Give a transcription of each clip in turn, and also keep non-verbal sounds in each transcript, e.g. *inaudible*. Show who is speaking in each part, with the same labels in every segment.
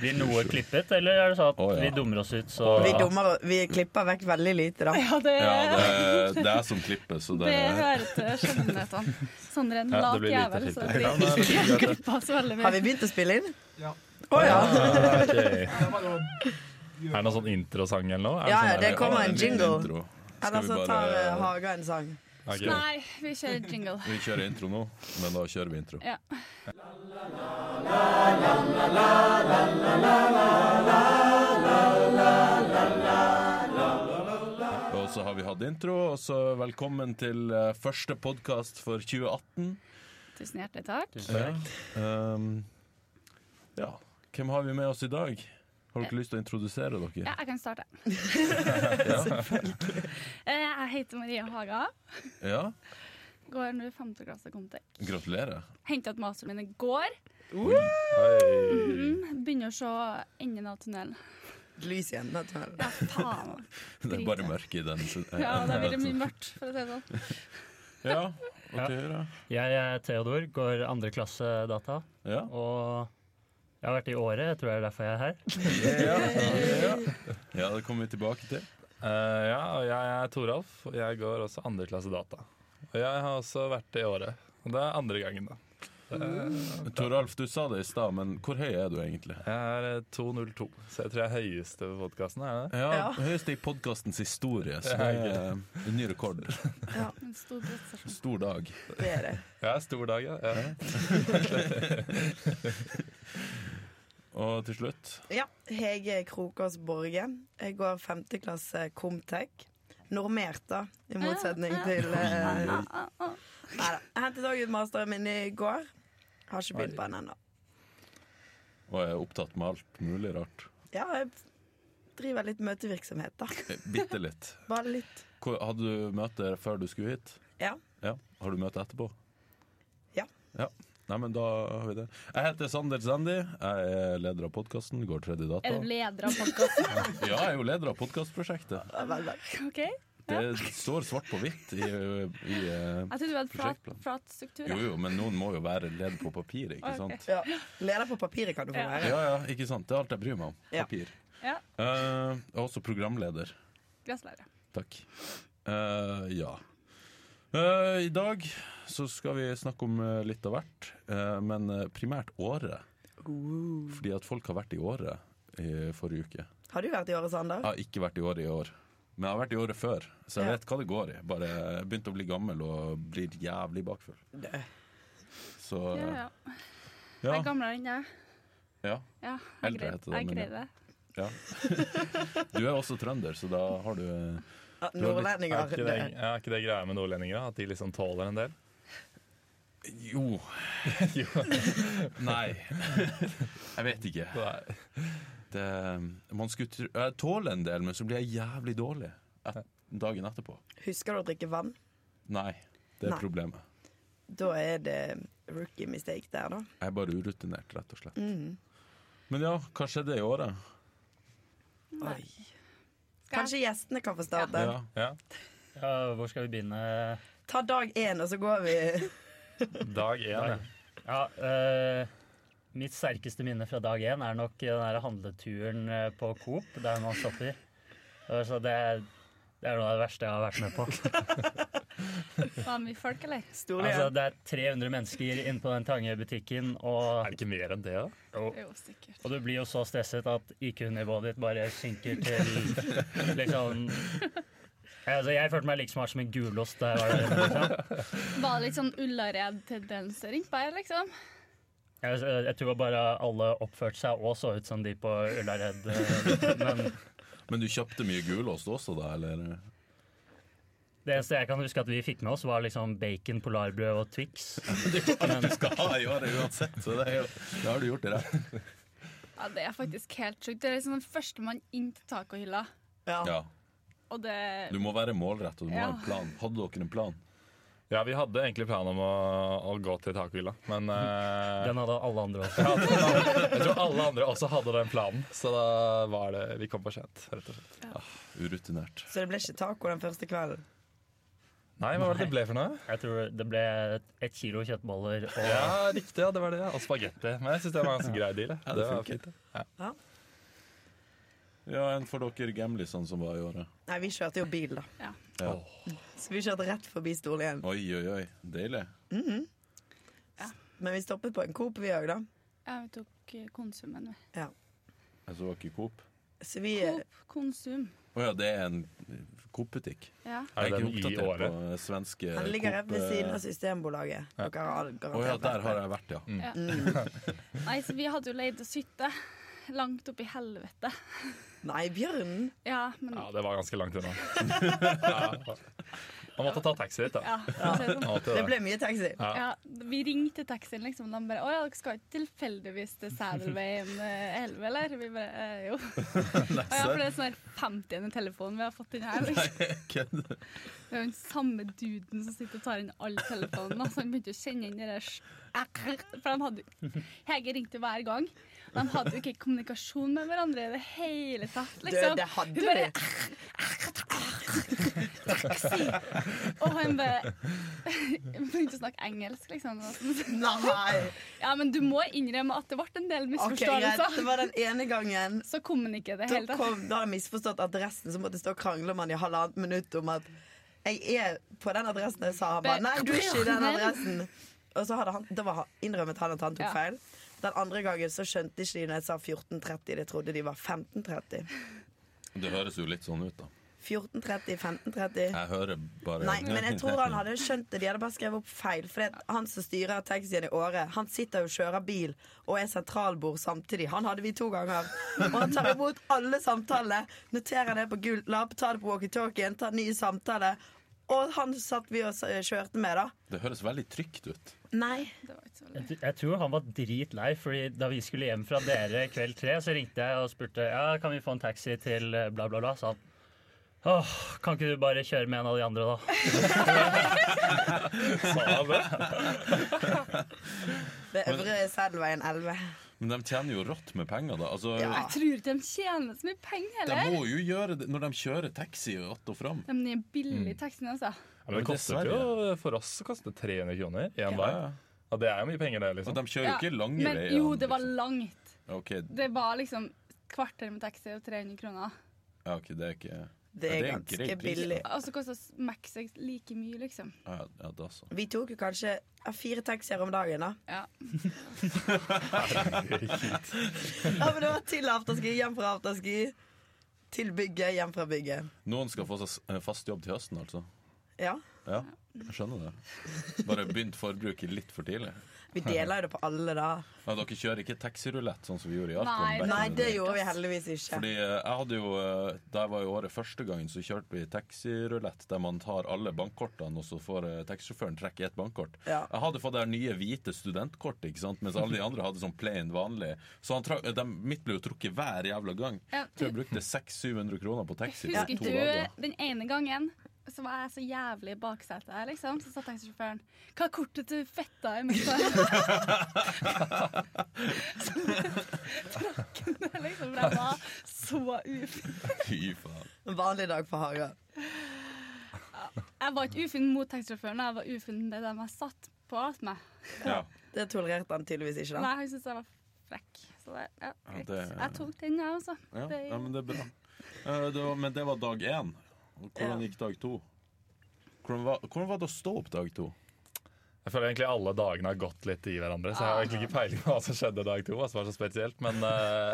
Speaker 1: Blir noe klippet, eller er det sånn at
Speaker 2: Å, ja.
Speaker 1: vi dummer oss ut, så
Speaker 3: Vi, dummer, vi klipper vekk veldig lite, da.
Speaker 4: Ja, det,
Speaker 2: Ja, det, er- det er som klippet, så det
Speaker 4: det hørte skjønnhetene. Sondre er en
Speaker 2: Ja, det
Speaker 4: lat
Speaker 2: blir lite
Speaker 4: jævel, så
Speaker 2: filter.
Speaker 4: det
Speaker 2: Ja, men-
Speaker 4: blir ikke klippa så veldig
Speaker 3: Har vi
Speaker 4: mye.
Speaker 3: begynt å spille inn?
Speaker 5: Ja.
Speaker 3: Å ja.
Speaker 6: Ah, ok. Er
Speaker 5: Det er bare å
Speaker 6: det noen sånn introsang eller noe? Er
Speaker 3: Ja,
Speaker 6: sånn
Speaker 3: ja, det
Speaker 6: der-
Speaker 3: kommer en
Speaker 2: liten
Speaker 3: jingle.
Speaker 2: intro. Skal
Speaker 3: Eller
Speaker 2: vi bare-
Speaker 3: så tar eh, Haga en sang.
Speaker 6: Ok.
Speaker 4: Nei, vi kjører jingle.
Speaker 2: Vi kjører intro nå, men da kjører vi intro.
Speaker 4: Ja.
Speaker 2: Og så har vi hatt intro, og så velkommen til eh, første podkast for 2018.
Speaker 4: Tusen hjertelig takk.
Speaker 2: Ja. Um, ja. Hvem har vi med oss i dag? Har dere lyst til å introdusere dere?
Speaker 4: Ja, jeg
Speaker 2: *laughs*
Speaker 4: kan starte. Eh, Jeg heter Maria Haga.
Speaker 2: Ja?
Speaker 4: Går nå i femte klasse Comtec.
Speaker 2: Gratulerer.
Speaker 4: Henta ut masteren min i går.
Speaker 6: Oi.
Speaker 4: Mm, Begynner å se enden av tunnelen.
Speaker 3: Lys igjen. da tar jeg.
Speaker 4: Ja, faen.
Speaker 2: Det er bare mørke i den.
Speaker 4: Ja, da blir det mye mørkt, for å si det sånn.
Speaker 2: *laughs* Ja, ok da.
Speaker 1: Jeg er Theodor, går andre klasse data,
Speaker 2: Ja.
Speaker 1: og jeg har vært i året, jeg tror det er derfor jeg er her.
Speaker 2: ja, det kommer vi tilbake til.
Speaker 6: Eh, ja, og jeg er Toralf, og jeg går også andre klasse data. Og jeg har også vært det i året. Og det er andre gangen, da. Eh,
Speaker 2: Toralf, du sa det i stad, men hvor høy er du egentlig?
Speaker 6: Jeg er eh, 202, så jeg tror jeg er høyeste på podkasten. Er det?
Speaker 2: Ja,
Speaker 3: Ja.
Speaker 2: Høyest i podkastens historie, så det er eh, en ny rekord.
Speaker 4: En stor brannstasjon.
Speaker 2: Stor dag.
Speaker 3: Det er det.
Speaker 6: Jeg er stor dag, ja. ja.
Speaker 2: Og til slutt
Speaker 3: Ja. Hege Krokås Borge. Jeg går femte klasse Comtec. Normert, da, i motsetning til eh, Nei da. Jeg hentet også ut masteren min i går. Har ikke begynt på den ennå.
Speaker 2: var jeg opptatt med alt mulig rart.
Speaker 3: Ja, jeg driver litt møtevirksomhet, da.
Speaker 2: Eh, Bitte litt.
Speaker 3: Bare litt.
Speaker 2: Hvor, hadde du møte før du skulle hit?
Speaker 3: Ja.
Speaker 2: Ja. Har du møte etterpå?
Speaker 3: Ja.
Speaker 2: ja. Nei, men da har vi det. Jeg heter Sander Sandy. Jeg er leder av podkasten Går tredje data.
Speaker 4: Er du leder av podkasten?
Speaker 2: Ja, jeg er jo leder av podkastprosjektet.
Speaker 3: Vel, vel.
Speaker 4: OK?
Speaker 2: Det står svart på hvitt i, i eh,
Speaker 4: Jeg trodde vi hadde flat,
Speaker 2: Prosjektplan.
Speaker 4: flat struktur.
Speaker 2: Jo
Speaker 4: jeg.
Speaker 2: jo, men noen må jo være leder på papir, ikke sant?
Speaker 3: Ja. Leder på papiret kan du få
Speaker 4: Ja.
Speaker 3: være.
Speaker 2: Ja, ja, ikke sant. Det er alt jeg bryr meg om.
Speaker 3: Ja.
Speaker 2: Papir.
Speaker 4: Ja,
Speaker 2: Eh, Jeg er også programleder.
Speaker 4: Gratulerer.
Speaker 2: Takk. Eh, ja. Eh, I dag så skal vi snakke om eh, litt av hvert, eh, men eh, primært Åre. Fordi at folk har vært i Åre i forrige uke.
Speaker 3: Har du vært i året, Sander?
Speaker 2: Jeg har ikke vært i Åre i år, men jeg har vært i Åre før, så jeg
Speaker 3: Ja.
Speaker 2: vet hva det går i. Bare jeg begynte å bli gammel og blir jævlig bakfull.
Speaker 3: Dø.
Speaker 2: Så
Speaker 4: Ja,
Speaker 2: eh,
Speaker 4: ja. Jeg er
Speaker 2: ja.
Speaker 4: gamlere enn deg.
Speaker 2: ja.
Speaker 4: Ja, jeg
Speaker 2: Eldre heter det,
Speaker 4: greier jeg
Speaker 2: men ja.
Speaker 4: greier det.
Speaker 2: ja. *laughs* Du er også trønder, så da har du eh,
Speaker 3: Ja,
Speaker 2: litt-
Speaker 3: Nordlendinger. eh,
Speaker 6: Er ikke det, ja, er ikke det greia med nordlendinger, da? at de liksom tåler en del? *laughs*
Speaker 2: Jo. Nei. *laughs* Jeg vet ikke.
Speaker 6: Nei.
Speaker 2: Det, man skulle tro, jeg tåler en del, men så blir jeg jævlig dårlig et, dagen etterpå.
Speaker 3: det. Husker du å drikke vann?
Speaker 2: Nei, det er
Speaker 3: Nei.
Speaker 2: problemet.
Speaker 3: Da er det rookie mistake der, da.
Speaker 2: Jeg er bare urutinert, rett og slett. Men ja, hva skjedde i året?
Speaker 3: Oi.
Speaker 4: Skal jeg-
Speaker 3: Kanskje gjestene kan få starte.
Speaker 2: Ja.
Speaker 6: Ja.
Speaker 1: Ja, hvor skal vi begynne?
Speaker 3: Ta dag én, og så går vi.
Speaker 6: Dag én. ja.
Speaker 1: Ja, eh, mitt sterkeste minne fra dag én er nok den der handleturen eh, på Coop, der man stopper. Eh, Så det er, det er noe av det verste jeg har vært med *laughs* på.
Speaker 4: Var det mye folk, eller?
Speaker 3: Storlig.
Speaker 1: Altså, det er 300 mennesker inne på den Tange-butikken,
Speaker 6: Er
Speaker 1: og,
Speaker 6: det ikke mer enn det, da?
Speaker 4: Jo, sikkert.
Speaker 1: og du blir jo så stresset at IQ-nivået ditt bare synker *laughs* til liksom Ja, altså, Jeg følte meg like smart som en gulost da jeg var der. Liksom.
Speaker 4: Var det litt sånn Ullared-tendenser innpå her, liksom?
Speaker 1: Jeg, jeg tror bare alle oppførte seg og så ut som de på Ullared. eh, Men
Speaker 2: Men du kjøpte mye gulost også, da? Eller? *laughs*
Speaker 1: Det eneste jeg kan huske at vi fikk med oss, var liksom bacon, polarbrød og Twix. Men,
Speaker 2: Skal ha i året uansett, så det, er jo, det har du gjort i rett.
Speaker 4: Ja, det er faktisk helt sjukt. Det er liksom den førstemann inn til tacohylla,
Speaker 3: Ja.
Speaker 2: Ja.
Speaker 4: og det
Speaker 2: Du må være målrett, og du må ha
Speaker 4: Ja.
Speaker 2: en plan. Hadde dere en plan?
Speaker 6: Ja, vi hadde egentlig planen om å, å gå til tacohylla, *laughs* men eh,
Speaker 1: den hadde alle andre også.
Speaker 6: jeg tror alle andre også hadde den planen, så da var det Vi kom for sent, rett og slett.
Speaker 2: Urutinert.
Speaker 3: Så det ble ikke taco den første kvelden.
Speaker 6: Nei, hva var det det ble for noe?
Speaker 1: Jeg tror det ble ett kilo kjøttboller og
Speaker 6: Ja, riktig, ja, det var det. ja. Og spagetti. Men jeg syns det var en ganske grei deal. jeg.
Speaker 2: Ja, det
Speaker 6: det var
Speaker 2: funker.
Speaker 6: fint.
Speaker 2: Ja, en for dere gamlisene som var i året.
Speaker 3: Nei, vi kjørte jo bil, da.
Speaker 2: Ja.
Speaker 3: Så vi kjørte rett forbi Storlien.
Speaker 2: Oi, oi, oi. Deilig.
Speaker 3: Men vi stoppet på en Coop, vi òg, da.
Speaker 4: Ja, vi tok eh, konsumen. vi.
Speaker 2: Jeg så ikke Coop.
Speaker 3: Så vi
Speaker 4: Coop konsum.
Speaker 2: Å ja, det er en Coop-butikk.
Speaker 4: Ja.
Speaker 6: Er det
Speaker 2: Jeg er
Speaker 6: den
Speaker 2: ikke
Speaker 6: i
Speaker 2: oppdatert
Speaker 6: året?
Speaker 2: på eh, svenske
Speaker 3: Han ligger rett ved
Speaker 2: Coop, eh,
Speaker 3: siden av Systembolaget. Dere har
Speaker 2: Å ja, der
Speaker 3: garantert vært
Speaker 2: har
Speaker 3: der.
Speaker 2: jeg vært, ja.
Speaker 4: Nei, så vi hadde jo leid oss hytte. Langt opp i helvete.
Speaker 3: Nei, bjørnen!
Speaker 4: Ja, men
Speaker 6: Ja, det var ganske langt *laughs* unna. Ja. Man måtte ta taxi dit, da.
Speaker 4: Ja, for å si det sånn.
Speaker 6: Man måtte
Speaker 3: Det
Speaker 6: det.
Speaker 3: ble mye taxi.
Speaker 6: Ja.
Speaker 4: Ja, vi ringte taxien, liksom. og De bare 'Å ja, dere skal ikke tilfeldigvis til Sædelveien eh, 11, eller?' Vi bare eh, 'Jo'. Og ja, for det er sånn her 50. telefon vi har fått inn her. Liksom.
Speaker 6: Mm.
Speaker 2: *laughs* Kødder.
Speaker 4: Det er jo den samme duden som sitter og tar inn alle telefonene. Så han begynte å kjenne inn det der sj- For han hadde jo- Hege ringte jo hver gang. De hadde jo ikke kommunikasjon med hverandre i det hele tatt,
Speaker 3: Du,
Speaker 4: liksom.
Speaker 3: det
Speaker 4: Hun
Speaker 3: hadde vi.
Speaker 4: bare Taxi! Og han bare *laughs* begynte å snakke engelsk, liksom. *laughs*
Speaker 3: Nei!
Speaker 4: Ja, men du må innrømme at det ble en del
Speaker 3: Ok, greit.
Speaker 4: misforståelser.
Speaker 3: Det var den ene gangen.
Speaker 4: Så kom han ikke i det
Speaker 3: Da,
Speaker 4: hele tatt.
Speaker 3: kom, da hadde jeg misforstått adressen, så måtte jeg stå og krangle med han i halvannet minutt om at jeg er på den adressen jeg sa. Han bare nei, du er ikke i den adressen. Og så hadde han, da var han, innrømmet han at han tok
Speaker 4: Ja.
Speaker 3: feil. Den andre gangen så skjønte ikke de når jeg sa 14.30, de trodde de var 15.30.
Speaker 2: Det høres jo litt sånn ut, da.
Speaker 3: 14.30, 15.30.
Speaker 2: Jeg hører bare
Speaker 3: Nei, men jeg tror han hadde skjønt det. De hadde bare skrevet opp feil. For det, han som styrer taxien i Åre, han sitter jo og kjører bil og er sentralbord samtidig. Han hadde vi to ganger. Og han tar imot alle samtalene, noterer det på gul lapp, tar det på walkietalkien, tar ny samtale. Og han satt vi og s- kjørte med, da.
Speaker 2: Det høres veldig trygt ut.
Speaker 3: Nei.
Speaker 4: Det var ikke så
Speaker 1: Jeg
Speaker 4: veldig-
Speaker 1: tr- Jeg tror han var dritlei, fordi da vi skulle hjem fra dere kveld tre, så ringte jeg og spurte ja, kan vi få en taxi til eh, bla, bla, bla. Sa han åh, kan ikke du bare kjøre med en av de andre, da?
Speaker 6: Sa jeg det?
Speaker 3: Ved Øvre Sædelveien 11.
Speaker 2: Men de tjener jo rått med penger, da. Altså,
Speaker 3: Ja.
Speaker 4: Jeg tror ikke de tjener så mye penger
Speaker 2: De
Speaker 4: heller.
Speaker 2: må jo gjøre det når de kjører taxi att og fram.
Speaker 4: De nye
Speaker 2: Mm.
Speaker 4: billige taxiene, altså.
Speaker 6: Ja, men det kostet jo, for oss så kostet det 300 kroner én vei.
Speaker 2: Ja.
Speaker 6: Og det er jo mye penger, det.
Speaker 2: Og
Speaker 6: liksom
Speaker 2: de kjører jo ikke lange
Speaker 4: men
Speaker 2: veier. liksom.
Speaker 4: jo, det var langt.
Speaker 2: Ok,
Speaker 4: Det var liksom kvarter med taxi og 300 kroner.
Speaker 2: ja, ok, det er ikke
Speaker 3: Det
Speaker 2: Ja,
Speaker 3: er
Speaker 2: det er en grei
Speaker 3: ganske
Speaker 2: pris, da.
Speaker 3: billig.
Speaker 4: Og så kosta Max like mye, liksom.
Speaker 2: Ja, ja, da så.
Speaker 3: Vi tok jo kanskje ja, fire taxier om dagen, da.
Speaker 4: Ja.
Speaker 3: Ja, men det var til afterski, hjem fra afterski. Til bygget, hjem fra bygget.
Speaker 2: Noen skal få seg s- eh, fast jobb til høsten, altså.
Speaker 3: Ja.
Speaker 2: Ja, jeg skjønner det. Bare begynt forbruket litt for tidlig.
Speaker 3: Vi deler jo det på alle, da.
Speaker 2: Ja, dere kjører ikke taxirulett sånn som vi gjorde i
Speaker 4: Nei,
Speaker 2: Arton?
Speaker 3: Nei, det gjorde vi heldigvis ikke.
Speaker 2: Fordi eh, jeg hadde jo, eh, Da jeg var i året første gangen, så kjørte vi taxirulett der man tar alle bankkortene, og så får eh, taxisjåføren trekke ett bankkort.
Speaker 3: Ja.
Speaker 2: Jeg hadde fått det her nye hvite studentkortet, ikke sant? mens alle de andre hadde sånn plain vanlig. Så han trak, de, mitt ble jo trukket hver jævla gang.
Speaker 4: Ja.
Speaker 2: Jeg tror jeg brukte 600-700 kroner på taxi på
Speaker 4: Husker
Speaker 2: to dager.
Speaker 4: du den ene gangen så var jeg så jævlig i baksetet, liksom. Så sa taxisjåføren 'Hva er kortet til fetta i møtta?'
Speaker 2: *laughs*
Speaker 4: *laughs* så trakk han det, liksom. For jeg var så ufin.
Speaker 2: Fy faen.
Speaker 3: En vanlig dag på Haga.
Speaker 4: Jeg var ikke ufin mot taxisjåføren, jeg var ufin med dem jeg satt på med.
Speaker 2: Ja.
Speaker 3: Det tolererte han tydeligvis ikke. da
Speaker 4: Nei, han syntes jeg var frekk. Så det, ja, greit.
Speaker 2: det-
Speaker 4: Jeg tok den, jeg også.
Speaker 2: Ja,
Speaker 4: Det-
Speaker 2: ja, men det er bra. Eh, det var, men det var dag én. Og Hvordan
Speaker 3: Ja.
Speaker 2: gikk dag to? Hvordan var, hvordan var det å stå opp dag to?
Speaker 6: Jeg føler egentlig alle dagene har gått litt i hverandre, så jeg har egentlig ikke
Speaker 3: Ah.
Speaker 6: peiling på hva som skjedde dag to. Altså, det var så spesielt, men eh,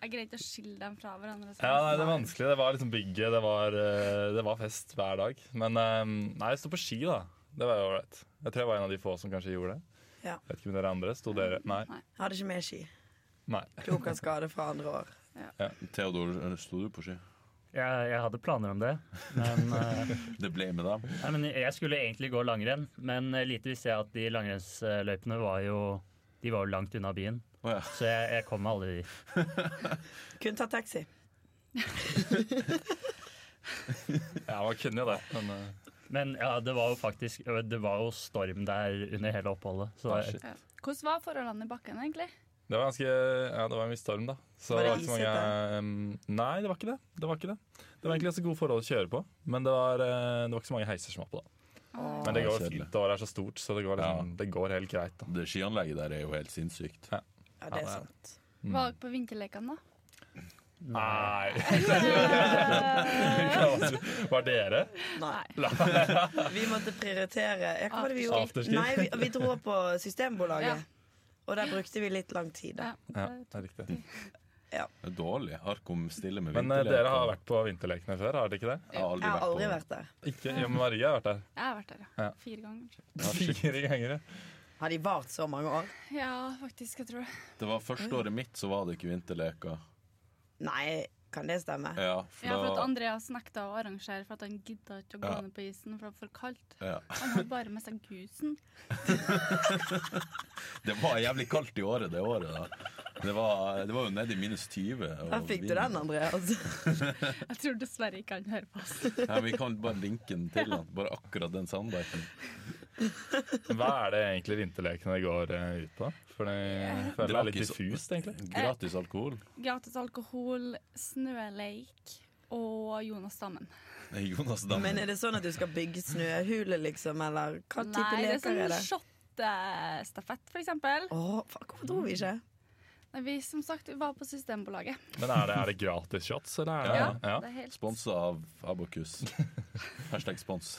Speaker 4: Jeg greide ikke å skille dem fra hverandre. så-
Speaker 6: Ja, nei, det er vanskelig. Det var liksom bygget, det var, eh, det var fest hver dag. Men eh, nei, jeg sto på ski, da. Det var jo ålreit. Jeg tror jeg var en av de få som kanskje gjorde det.
Speaker 3: Ja. Mm.
Speaker 6: Vet ikke om dere andre. Sto dere Nei.
Speaker 4: Nei.
Speaker 3: Jeg Hadde ikke med ski.
Speaker 6: nei.
Speaker 3: Klok av skade fra andre år.
Speaker 2: Theodor, sto du på ski?
Speaker 1: Jeg, jeg hadde planer om det, men, eh,
Speaker 2: Det ble med dem.
Speaker 1: nei, men jeg skulle egentlig gå langrenn. Men eh, lite visste jeg at de langrennsløypene var jo de var jo langt unna byen,
Speaker 2: Å ja.
Speaker 1: så jeg, jeg kom meg aldri dit.
Speaker 3: Kunne tatt taxi.
Speaker 6: Ja, man kunne jo det, men eh,
Speaker 1: Men ja, det var jo faktisk Det var jo storm der under hele oppholdet. Så
Speaker 2: Ah,
Speaker 1: jeg,
Speaker 2: shit.
Speaker 4: Ja. Hvordan var forholdene i bakken, egentlig?
Speaker 6: Det var ganske Ja, det var en viss storm, da. Så
Speaker 3: Var det
Speaker 6: var ikke så mange, ehm, nei, det var ikke det. Det var ikke det Det var egentlig ganske gode forhold å kjøre på, men det var, eh, det var ikke så mange heiser som var på da. Men det
Speaker 2: Nei,
Speaker 6: går
Speaker 2: kjedelig.
Speaker 6: fint. Det er så stort, så det går, liksom,
Speaker 2: Ja.
Speaker 6: det går helt greit. da
Speaker 2: Det skianlegget der er jo helt sinnssykt.
Speaker 3: Ja, det er
Speaker 6: Ja, ja.
Speaker 3: sant.
Speaker 4: Var dere på vinterlekene, da?
Speaker 6: *laughs* Nei! Var dere?
Speaker 3: Nei. Vi måtte prioritere. Ja, hva var det vi gjorde?
Speaker 6: Afterski.
Speaker 3: Nei, vi, vi dro på
Speaker 4: Ja.
Speaker 3: Systembolaget, og der brukte vi litt lang tid. da.
Speaker 4: Ja,
Speaker 6: Ja,
Speaker 4: det-
Speaker 6: det er riktig.
Speaker 2: Det er Dårlig. Arkom stille med
Speaker 6: Men eh, dere har vært på vinterlekene før, har dere ikke det?
Speaker 2: Jeg har aldri
Speaker 3: Jeg har
Speaker 2: vært
Speaker 3: aldri
Speaker 2: på-
Speaker 3: vært der.
Speaker 6: Ikke? Jo, men Maria har vært der.
Speaker 4: Jeg har vært der, ja.
Speaker 6: Ja.
Speaker 4: Fire ganger.
Speaker 6: *laughs* Fire ganger. ja.
Speaker 3: Har de vart så mange år?
Speaker 4: Ja, faktisk, jeg tror det.
Speaker 2: Det var første året mitt, så var det ikke vinterleker.
Speaker 3: Nei, kan det stemme?
Speaker 2: Ja, for
Speaker 4: Ja, for at
Speaker 2: da
Speaker 4: Andreas nekta å arrangere for at han gidda ikke å gå
Speaker 2: Ja.
Speaker 4: ned på isen, for det var for kaldt.
Speaker 2: ja.
Speaker 4: Han hadde bare med seg gusen.
Speaker 2: Det var jævlig kaldt i året det året, da. Det var, det var jo nede i minus 20. og
Speaker 3: Der fikk du
Speaker 2: vind.
Speaker 3: den, Andreas.
Speaker 4: Jeg tror dessverre ikke han hører på oss.
Speaker 2: *laughs* Ja, vi kan bare linke den til han. Bare akkurat den
Speaker 3: *laughs*
Speaker 2: soundbiten.
Speaker 6: Hva er det egentlig vinterlekene går eh, ut på? For det jeg føler det er litt
Speaker 2: Gratis-
Speaker 6: diffust, egentlig.
Speaker 2: Gratis alkohol.
Speaker 4: Gratis alkohol, snøleik og Jonas Dammen.
Speaker 2: Nei, Jonas
Speaker 3: Men
Speaker 2: Dammen.
Speaker 3: er det sånn at du skal bygge snøhule, liksom? Eller hva type
Speaker 4: Nei, det er
Speaker 3: leker er
Speaker 4: sånn
Speaker 3: det?
Speaker 4: shottestafett, for eksempel.
Speaker 3: Å, fuck, hvorfor dro vi ikke?
Speaker 4: Nei, Vi som sagt vi var på Systembolaget.
Speaker 6: Men er det, er det gratis shots, eller? Er det, ja.
Speaker 4: Det er helt
Speaker 2: Sponsa av *laughs* Abokus. Hashtag spons.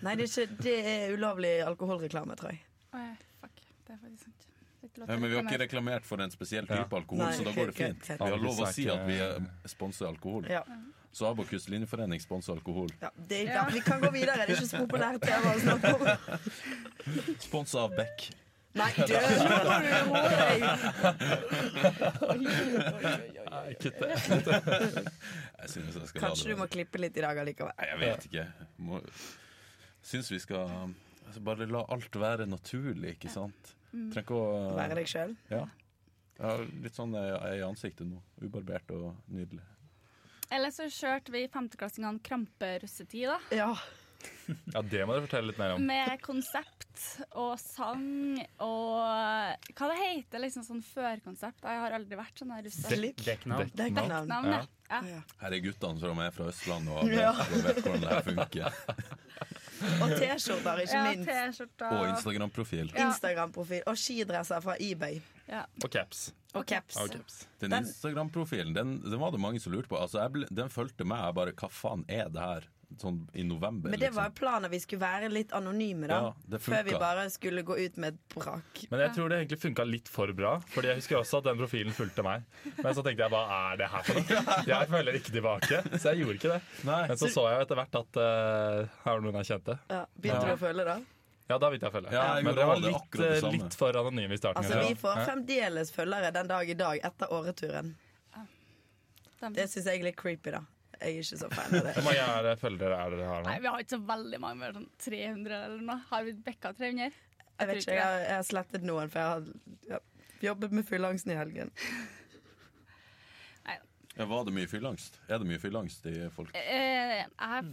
Speaker 3: Nei, det er, ikke, det er ulovlig alkoholreklame, tror jeg.
Speaker 4: Oi, Fuck, det er faktisk sant. Det er ikke lov
Speaker 2: Ja,
Speaker 4: til å
Speaker 2: men vi har ikke
Speaker 4: reklamere.
Speaker 2: reklamert for en spesiell type
Speaker 6: Ja.
Speaker 2: alkohol,
Speaker 3: Nei,
Speaker 2: så da går det
Speaker 3: ok,
Speaker 2: fint.
Speaker 3: ok, ok.
Speaker 2: Vi har lov å si at vi eh, sponser alkohol.
Speaker 3: Ja.
Speaker 2: Så Abokus linjeforening sponser alkohol.
Speaker 3: Ja, det, ja. Vi kan gå videre, det er ikke så populært tema å snakke om.
Speaker 2: Sponsa av Beck.
Speaker 3: Nei, dø! nå får du holde deg.
Speaker 6: Nei, Kutt det.
Speaker 2: Jeg synes jeg skal la
Speaker 3: Kanskje
Speaker 2: det
Speaker 3: du må
Speaker 2: være.
Speaker 3: klippe litt i dag allikevel.
Speaker 2: Nei, jeg vet ikke. Må, syns vi skal altså, Bare la alt være naturlig, ikke sant? Trenger ikke å
Speaker 3: Mm. Være deg sjøl.
Speaker 2: Ja. Jeg har litt sånn jeg er i ansiktet nå. Ubarbert og nydelig.
Speaker 4: Eller så kjørte vi femteklassingene kramperussetid, da.
Speaker 3: Ja.
Speaker 6: Ja, det må dere fortelle litt mer om.
Speaker 4: Med konsept og sang og Hva det heter liksom sånn førkonsept? Jeg har aldri vært sånn her russa.
Speaker 3: Slipp.
Speaker 1: Dekknavn.
Speaker 3: Det er ikke navn.
Speaker 4: Navnet. Ja.
Speaker 3: Ja.
Speaker 2: Her er guttene som er fra Østlandet og vet,
Speaker 3: Ja.
Speaker 2: og vet hvordan det her funker.
Speaker 3: Og T-skjorter, ikke
Speaker 4: Ja,
Speaker 3: minst.
Speaker 4: T-skjorta.
Speaker 2: Og Instagram-profil.
Speaker 4: Ja.
Speaker 3: Instagram-profil. Og skidresser fra eBay.
Speaker 4: Ja.
Speaker 6: Og caps.
Speaker 3: Og caps.
Speaker 6: Og caps.
Speaker 2: Den
Speaker 3: Den-
Speaker 2: Instagram-profilen den, den var det mange som lurte på. Altså, jeg ble, den fulgte meg. Jeg bare Hva faen er det her? Sånn i november.
Speaker 3: Men det var planen vi skulle være litt anonyme, da.
Speaker 2: Ja, det funka.
Speaker 3: før vi bare skulle gå ut med et brak.
Speaker 6: Men jeg tror det egentlig funka litt for bra. Fordi jeg husker også at den profilen fulgte meg. Men så tenkte jeg hva er det her for noe?
Speaker 2: *laughs*
Speaker 6: Jeg følger ikke tilbake. Så jeg gjorde ikke det. Men så så jeg jo etter hvert at eh, her var noen jeg kjente.
Speaker 3: Ja, begynte
Speaker 6: Ja.
Speaker 3: du å føle det?
Speaker 6: Ja, da begynte jeg å følge.
Speaker 2: Ja,
Speaker 6: Men
Speaker 2: jeg gjorde
Speaker 6: det var
Speaker 2: det,
Speaker 6: litt,
Speaker 2: akkurat det
Speaker 6: eh,
Speaker 2: samme.
Speaker 6: litt for anonyme i starten.
Speaker 3: Altså,
Speaker 6: ja.
Speaker 3: vi får
Speaker 6: Ja.
Speaker 3: fremdeles følgere den dag i dag etter åreturen.
Speaker 4: dem-
Speaker 3: Det syns jeg er litt creepy, da. Jeg er ikke så fan av
Speaker 6: Hvor
Speaker 3: det.
Speaker 6: mange er det følgere er dere har nå?
Speaker 4: Nei, vi har ikke så veldig mange. Vi har sånn 300 eller noe. Har vi bikka 300?
Speaker 3: Jeg vet ikke, jeg har, jeg har slettet noen, for jeg har ja, jobbet med fylleangsten i helgen.
Speaker 2: Ja, var det mye fyllangst? Er det mye fyllangst i folk?
Speaker 4: Eh, jeg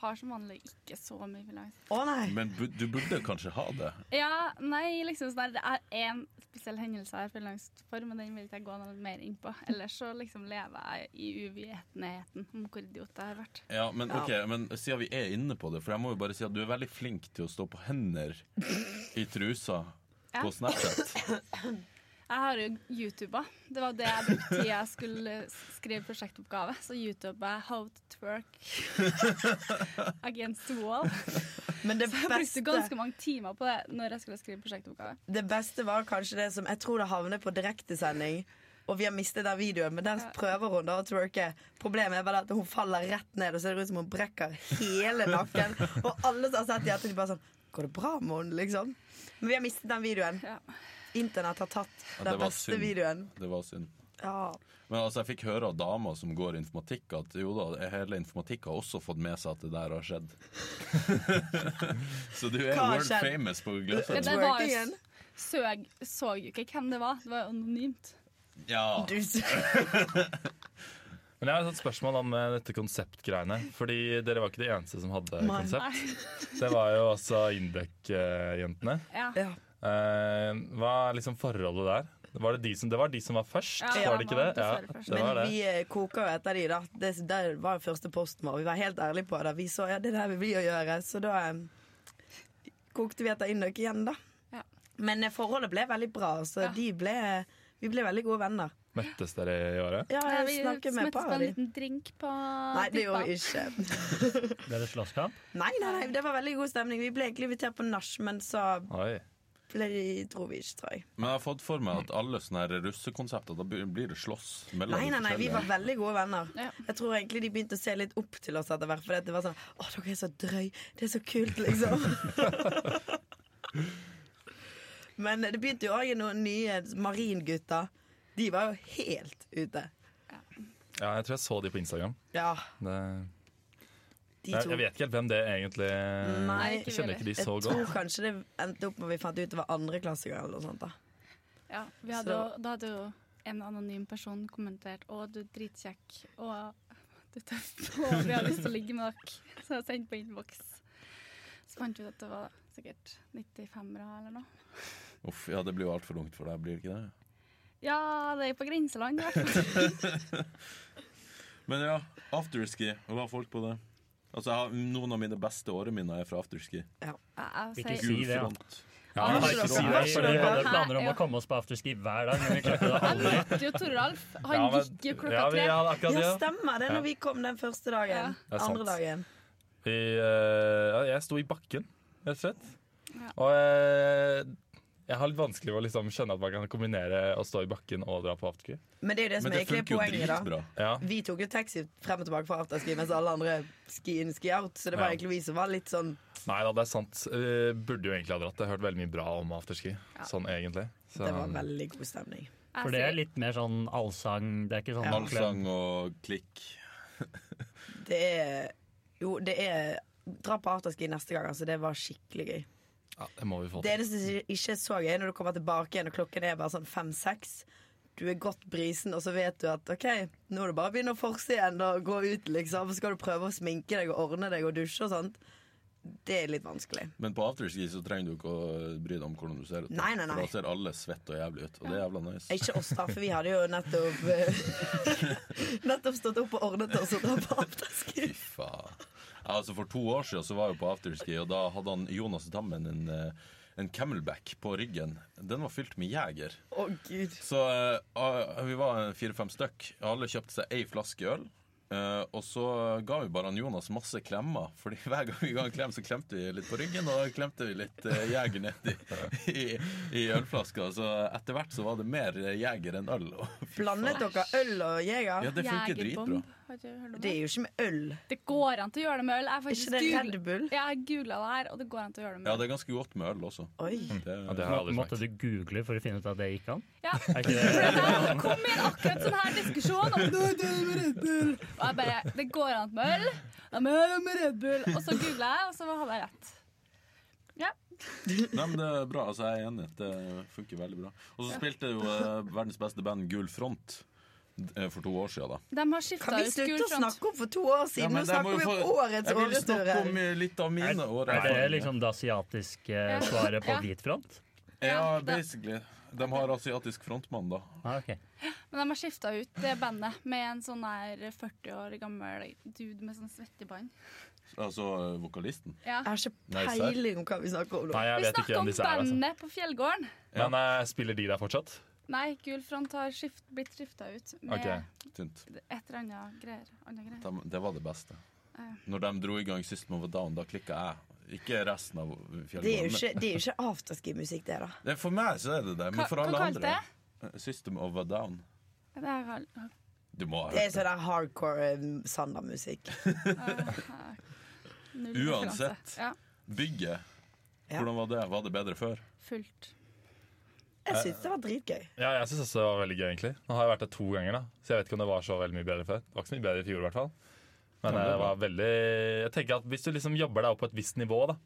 Speaker 4: har som vanlig ikke så mye villangs.
Speaker 3: Å nei!
Speaker 2: Men bu du burde kanskje ha det.
Speaker 4: Ja, nei, liksom sånn her, Det er én spesiell hendelse jeg har villangs for, men den vil ikke jeg gå noe mer inn på. Ellers så liksom lever jeg i uvitenheten om hvor idiot jeg har vært.
Speaker 2: Ja, men
Speaker 3: Ja.
Speaker 2: ok, men siden vi er inne på det, for jeg må jo bare si at du er veldig flink til å stå på hender i trusa
Speaker 4: Ja.
Speaker 2: på Snapchat.
Speaker 4: Jeg har jo YouTuba. Det var det jeg brukte til jeg skulle skrive prosjektoppgave. Så YouTuba jeg How to twerk against the wall.
Speaker 3: Men det
Speaker 4: *laughs* Jeg brukte
Speaker 3: beste,
Speaker 4: ganske mange timer på det når jeg skulle skrive prosjektoppgave.
Speaker 3: det beste var kanskje det som Jeg tror det havnet på direktesending. Og vi har mistet den videoen, men der prøver hun da å twerke. Problemet er bare at hun faller rett ned, og ser ut som hun brekker hele nakken.
Speaker 4: *laughs*
Speaker 3: Og alle som har sett det, i ettertid, bare sånn Går det bra med henne, liksom? Men vi har mistet den videoen.
Speaker 4: Ja.
Speaker 3: Internett har tatt
Speaker 2: Ja, det
Speaker 3: den
Speaker 2: var
Speaker 3: beste
Speaker 2: synd.
Speaker 3: videoen.
Speaker 2: Det var synd.
Speaker 3: Ja.
Speaker 2: Men altså, jeg fikk høre av damer som går informatikk, at jo da, hele informatikk har også fått med seg at det der har skjedd. *laughs* Så du er
Speaker 3: Hva har
Speaker 2: world
Speaker 3: skjedd?
Speaker 2: famous på
Speaker 4: Men
Speaker 2: Gløshaugen.
Speaker 4: det var jo,
Speaker 3: Twerkingen.
Speaker 4: så, så jo ikke hvem det var. Det var jo anonymt.
Speaker 2: Ja.
Speaker 3: Du s- *laughs*
Speaker 6: Men jeg har et sånt spørsmål om eh, dette konseptgreiene. Fordi dere var ikke de eneste som hadde
Speaker 3: Nei.
Speaker 6: konsept. Det var jo også Indek-jentene.
Speaker 4: Ja.
Speaker 3: ja.
Speaker 6: Eh, hva er liksom forholdet der? Var det, de som, det var de som var først,
Speaker 4: Ja,
Speaker 6: var det ikke det?
Speaker 4: man var
Speaker 6: Ja,
Speaker 4: dessverre først.
Speaker 6: det var
Speaker 3: Men
Speaker 6: det.
Speaker 3: vi eh, koker jo etter de, da. Det, der var første posten vår. Vi var helt ærlige på det. Vi så ja, det der vil vi jo gjøre, så da eh, kokte vi etter indøk igjen, da.
Speaker 4: Ja.
Speaker 3: Men eh, forholdet ble veldig bra, så
Speaker 4: Ja.
Speaker 3: de ble, eh, vi ble veldig gode venner.
Speaker 6: Møttes dere i året?
Speaker 3: Ja,
Speaker 4: Ja,
Speaker 3: jeg snakker
Speaker 4: smettes
Speaker 3: med et
Speaker 4: på
Speaker 3: par av
Speaker 4: en
Speaker 3: de.
Speaker 4: liten drink på
Speaker 3: Nei, det gjorde
Speaker 4: tippa.
Speaker 3: vi ikke.
Speaker 1: Ble det slåsskamp?
Speaker 3: Nei, nei, nei, det var veldig god stemning. Vi ble egentlig invitert på nach, men så
Speaker 6: Oi.
Speaker 3: ble de, dro vi ikke, tror jeg.
Speaker 2: Men jeg har fått for meg at alle sånne her russekonsepter, da blir blir det slåss mellom
Speaker 3: Nei,
Speaker 2: de
Speaker 3: nei, nei, vi
Speaker 2: forskjellige.
Speaker 3: var veldig gode venner.
Speaker 4: Ja.
Speaker 3: Jeg tror egentlig de begynte å se litt opp til oss etter hvert. For det var sånn Å, dere er så drøy. Det er så kult, liksom. Men det begynte jo òg noen nye maringutter. De var jo helt ute.
Speaker 6: Ja, jeg tror jeg så de på Instagram.
Speaker 3: Ja,
Speaker 6: Det,
Speaker 3: de
Speaker 6: jeg,
Speaker 3: to.
Speaker 6: jeg vet ikke helt hvem det egentlig
Speaker 3: Nei,
Speaker 6: Jeg kjenner ikke de
Speaker 3: jeg
Speaker 6: så
Speaker 3: tror
Speaker 6: godt.
Speaker 3: kanskje det endte opp med vi fant ut det var andreklassinger eller noe sånt. da
Speaker 4: Ja, vi hadde
Speaker 3: Så-
Speaker 4: jo, da hadde jo en anonym person kommentert Å, du er dritkjekk. Å, du er tøff. Å, vi har lyst til å ligge med dere. Så jeg sendte på innboks. Så fant vi ut at det var sikkert 95-ere eller noe.
Speaker 2: Uff, ja, det blir jo altfor ungt for deg, blir det ikke det?
Speaker 4: Ja, det er på grenseland, i
Speaker 3: *laughs*
Speaker 4: hvert fall.
Speaker 2: Men ja, afterski. Å la folk på det. Altså, jeg har, Noen av mine beste åreminner er fra afterski.
Speaker 4: Ja, jeg
Speaker 1: Ikke
Speaker 4: sier-
Speaker 1: si
Speaker 2: Gul
Speaker 1: det, da.
Speaker 2: front.
Speaker 6: Ja,
Speaker 4: Ah,
Speaker 6: men
Speaker 3: Nei,
Speaker 6: ikke si
Speaker 1: Nei,
Speaker 6: det,
Speaker 1: vi
Speaker 6: for det-
Speaker 1: hadde planer om
Speaker 4: Ja.
Speaker 1: å komme oss på afterski hver dag, men vi klarte det
Speaker 4: Jeg
Speaker 1: aldri.
Speaker 4: møtte jo Toralf. Han
Speaker 6: Ja, men-
Speaker 4: gikk jo
Speaker 6: ja,
Speaker 4: klokka
Speaker 6: vi
Speaker 4: tre.
Speaker 6: hadde akkurat det,
Speaker 3: Ja,
Speaker 6: ja.
Speaker 3: stemmer det, når vi kom den første dagen.
Speaker 6: Ja. Det er sant.
Speaker 3: Andre dagen.
Speaker 6: Vi, eh, ja, jeg sto i bakken, rett og slett.
Speaker 4: Ja.
Speaker 6: Og eh, jeg har litt vanskelig for å liksom skjønne at man kan kombinere å stå i bakken og dra på afterski.
Speaker 3: Men det er jo det som
Speaker 2: Men det
Speaker 3: egentlig er
Speaker 2: funker jo
Speaker 3: poenget, da.
Speaker 2: dritbra.
Speaker 6: Ja.
Speaker 3: Vi tok jo taxi frem og tilbake fra afterski mens alle andre ski in, ski out. Så det var
Speaker 6: Ja.
Speaker 3: egentlig vi som var litt sånn
Speaker 6: Nei da, det er sant. Eh, burde jo egentlig ha dratt. Jeg har hørt veldig mye bra om afterski.
Speaker 4: Ja.
Speaker 6: Sånn egentlig. Så,
Speaker 3: Det var veldig god stemning.
Speaker 4: Jeg
Speaker 1: For det er
Speaker 4: sier-
Speaker 1: litt mer sånn allsang. Det er ikke sånn
Speaker 3: Ja.
Speaker 2: Allsang og klikk.
Speaker 3: Det er Jo, det er Dra på afterski neste gang, altså. Det var skikkelig gøy.
Speaker 6: ja, det må vi få
Speaker 3: Det
Speaker 6: til.
Speaker 3: eneste som ikke er så gøy, når du kommer tilbake igjen og klokken er bare sånn fem-seks. Du er godt brisen, og så vet du at OK, nå er det bare å begynne å forse igjen og gå ut, liksom. Så skal du prøve å sminke deg og ordne deg og dusje og sånt. Det er litt vanskelig.
Speaker 2: Men på afterski så trenger du ikke å bry deg om hvordan du ser ut.
Speaker 3: Nei, nei, nei.
Speaker 2: For da ser alle svett og jævlig ut, og det er jævla nice.
Speaker 3: Ikke oss, da, for vi hadde jo nettopp eh, *laughs* Nettopp stått opp og ordnet oss og dra på afterski.
Speaker 2: Fy faen. Ja, Altså, for to år siden så var jeg jo på afterski, og da hadde han Jonas Dammen en, eh, en camelback på ryggen. Den var fylt med jeger.
Speaker 3: *laughs* Å, gud.
Speaker 2: Så eh, ah, vi var fire-fem stykk. Alle kjøpte seg ei flaske øl. eh, og så ga vi bare han Jonas masse klemmer, Fordi *laughs* hver gang vi ga en klem, så klemte vi litt på ryggen og klemte vi litt uh, jeger ned i, *laughs* i, i ølflaska. Så etter hvert så var det mer eh, jeger enn øl. og fy
Speaker 3: Blandet
Speaker 2: faen.
Speaker 3: dere øl og jeger?
Speaker 2: *laughs* Ja, det funker dritbra.
Speaker 4: Jegerbomb. Har du hørt om
Speaker 3: Det
Speaker 4: det?
Speaker 3: er jo ikke med øl.
Speaker 4: Det går an til å gjøre det med øl. Jeg har
Speaker 3: Er
Speaker 4: faktisk
Speaker 3: ikke det Red
Speaker 4: gul-
Speaker 3: Bull?
Speaker 4: Jeg har googla det her, og det går an til å gjøre det med
Speaker 2: Ja,
Speaker 4: øl.
Speaker 2: det er ganske godt med øl også.
Speaker 3: Oi.
Speaker 2: Det,
Speaker 6: Ja, det har jeg
Speaker 1: Må,
Speaker 6: aldri
Speaker 1: måtte
Speaker 6: smakt.
Speaker 1: du google for å finne ut at det gikk an?
Speaker 4: Ja. *laughs*
Speaker 1: Er ikke det?
Speaker 4: For det kom inn akkurat sånn her diskusjon om «Nei, det er med Red Bull. Og jeg bare Det går an med øl. Nei, men det er med Red Bull. Og så googla jeg, og så hadde jeg rett. Ja.
Speaker 2: Nei, men det er bra. altså Jeg er enig. Det funker veldig bra. Og så spilte jo eh, verdens beste band Gul Front eh, for to år siden, da.
Speaker 4: De har
Speaker 3: Kan
Speaker 4: skifta
Speaker 3: vi
Speaker 4: ut
Speaker 3: slutte å
Speaker 4: skulfront.
Speaker 3: snakke om for to år
Speaker 2: Ja,
Speaker 3: siden?
Speaker 2: men
Speaker 3: Nå
Speaker 2: jeg må
Speaker 3: snakker vi
Speaker 2: jo
Speaker 3: om
Speaker 2: få- Jeg
Speaker 3: årets
Speaker 2: ville snakke
Speaker 3: årestøre.
Speaker 2: om eh, litt av
Speaker 1: Er,
Speaker 2: mine år.
Speaker 1: er det liksom det asiatiske svaret på
Speaker 4: Ja.
Speaker 1: hvit front?
Speaker 2: Ja,
Speaker 4: Ja, da-
Speaker 2: basically. De har asiatisk frontmann, da.
Speaker 1: Ah, ok.
Speaker 4: Men de har skifta ut det bandet med en sånn her 40 år gammel dude med sånn svettebånd.
Speaker 2: Altså eh, vokalisten.
Speaker 4: Ja.
Speaker 3: Jeg har ikke
Speaker 2: Nei, serr.
Speaker 3: peiling om hva vi snakker om nå.
Speaker 6: Nei, jeg
Speaker 4: Vi
Speaker 6: vet ikke
Speaker 4: snakka om
Speaker 6: hvem disse er. Altså.
Speaker 4: bandet på Fjellgården.
Speaker 6: Men eh, spiller de der fortsatt?
Speaker 4: Nei, Gul Front har skift, blitt skifta ut med
Speaker 6: Ok.
Speaker 2: Tynt.
Speaker 4: et eller annet greier. Andre greier.
Speaker 2: De, det var det beste.
Speaker 4: Ja.
Speaker 2: Når de dro i gang Sist Man Var Down, da klikka jeg. Ikke resten av
Speaker 3: Det er jo
Speaker 2: fjellgården.
Speaker 3: ikke, det er jo ikke afterski-musikk, det, da.
Speaker 2: men- Det- For meg så er det det, men for alle andre
Speaker 4: kalte det?
Speaker 2: eh, System of a Down.
Speaker 4: Det er gal-
Speaker 2: Du må ha
Speaker 3: Det er
Speaker 2: hørt det.
Speaker 3: sånn der hardcore eh, Sander-musikk.
Speaker 4: null referanse.
Speaker 2: Uansett.
Speaker 4: Ja,
Speaker 2: Bygget.
Speaker 3: Ja.
Speaker 2: Hvordan var det? Var det bedre før? *laughs*
Speaker 4: fullt.
Speaker 3: Jeg syns det var dritgøy.
Speaker 6: Ja, jeg syns også det var veldig gøy, egentlig. Nå har jeg vært der to ganger, da, så jeg vet ikke om det var så veldig mye bedre før. Det var ikke så mye bedre i fjor, i hvert fall. Men
Speaker 2: Ja, det
Speaker 6: det
Speaker 2: er bra.
Speaker 6: var veldig Jeg tenker at hvis du liksom jobber deg opp på et visst nivå, da,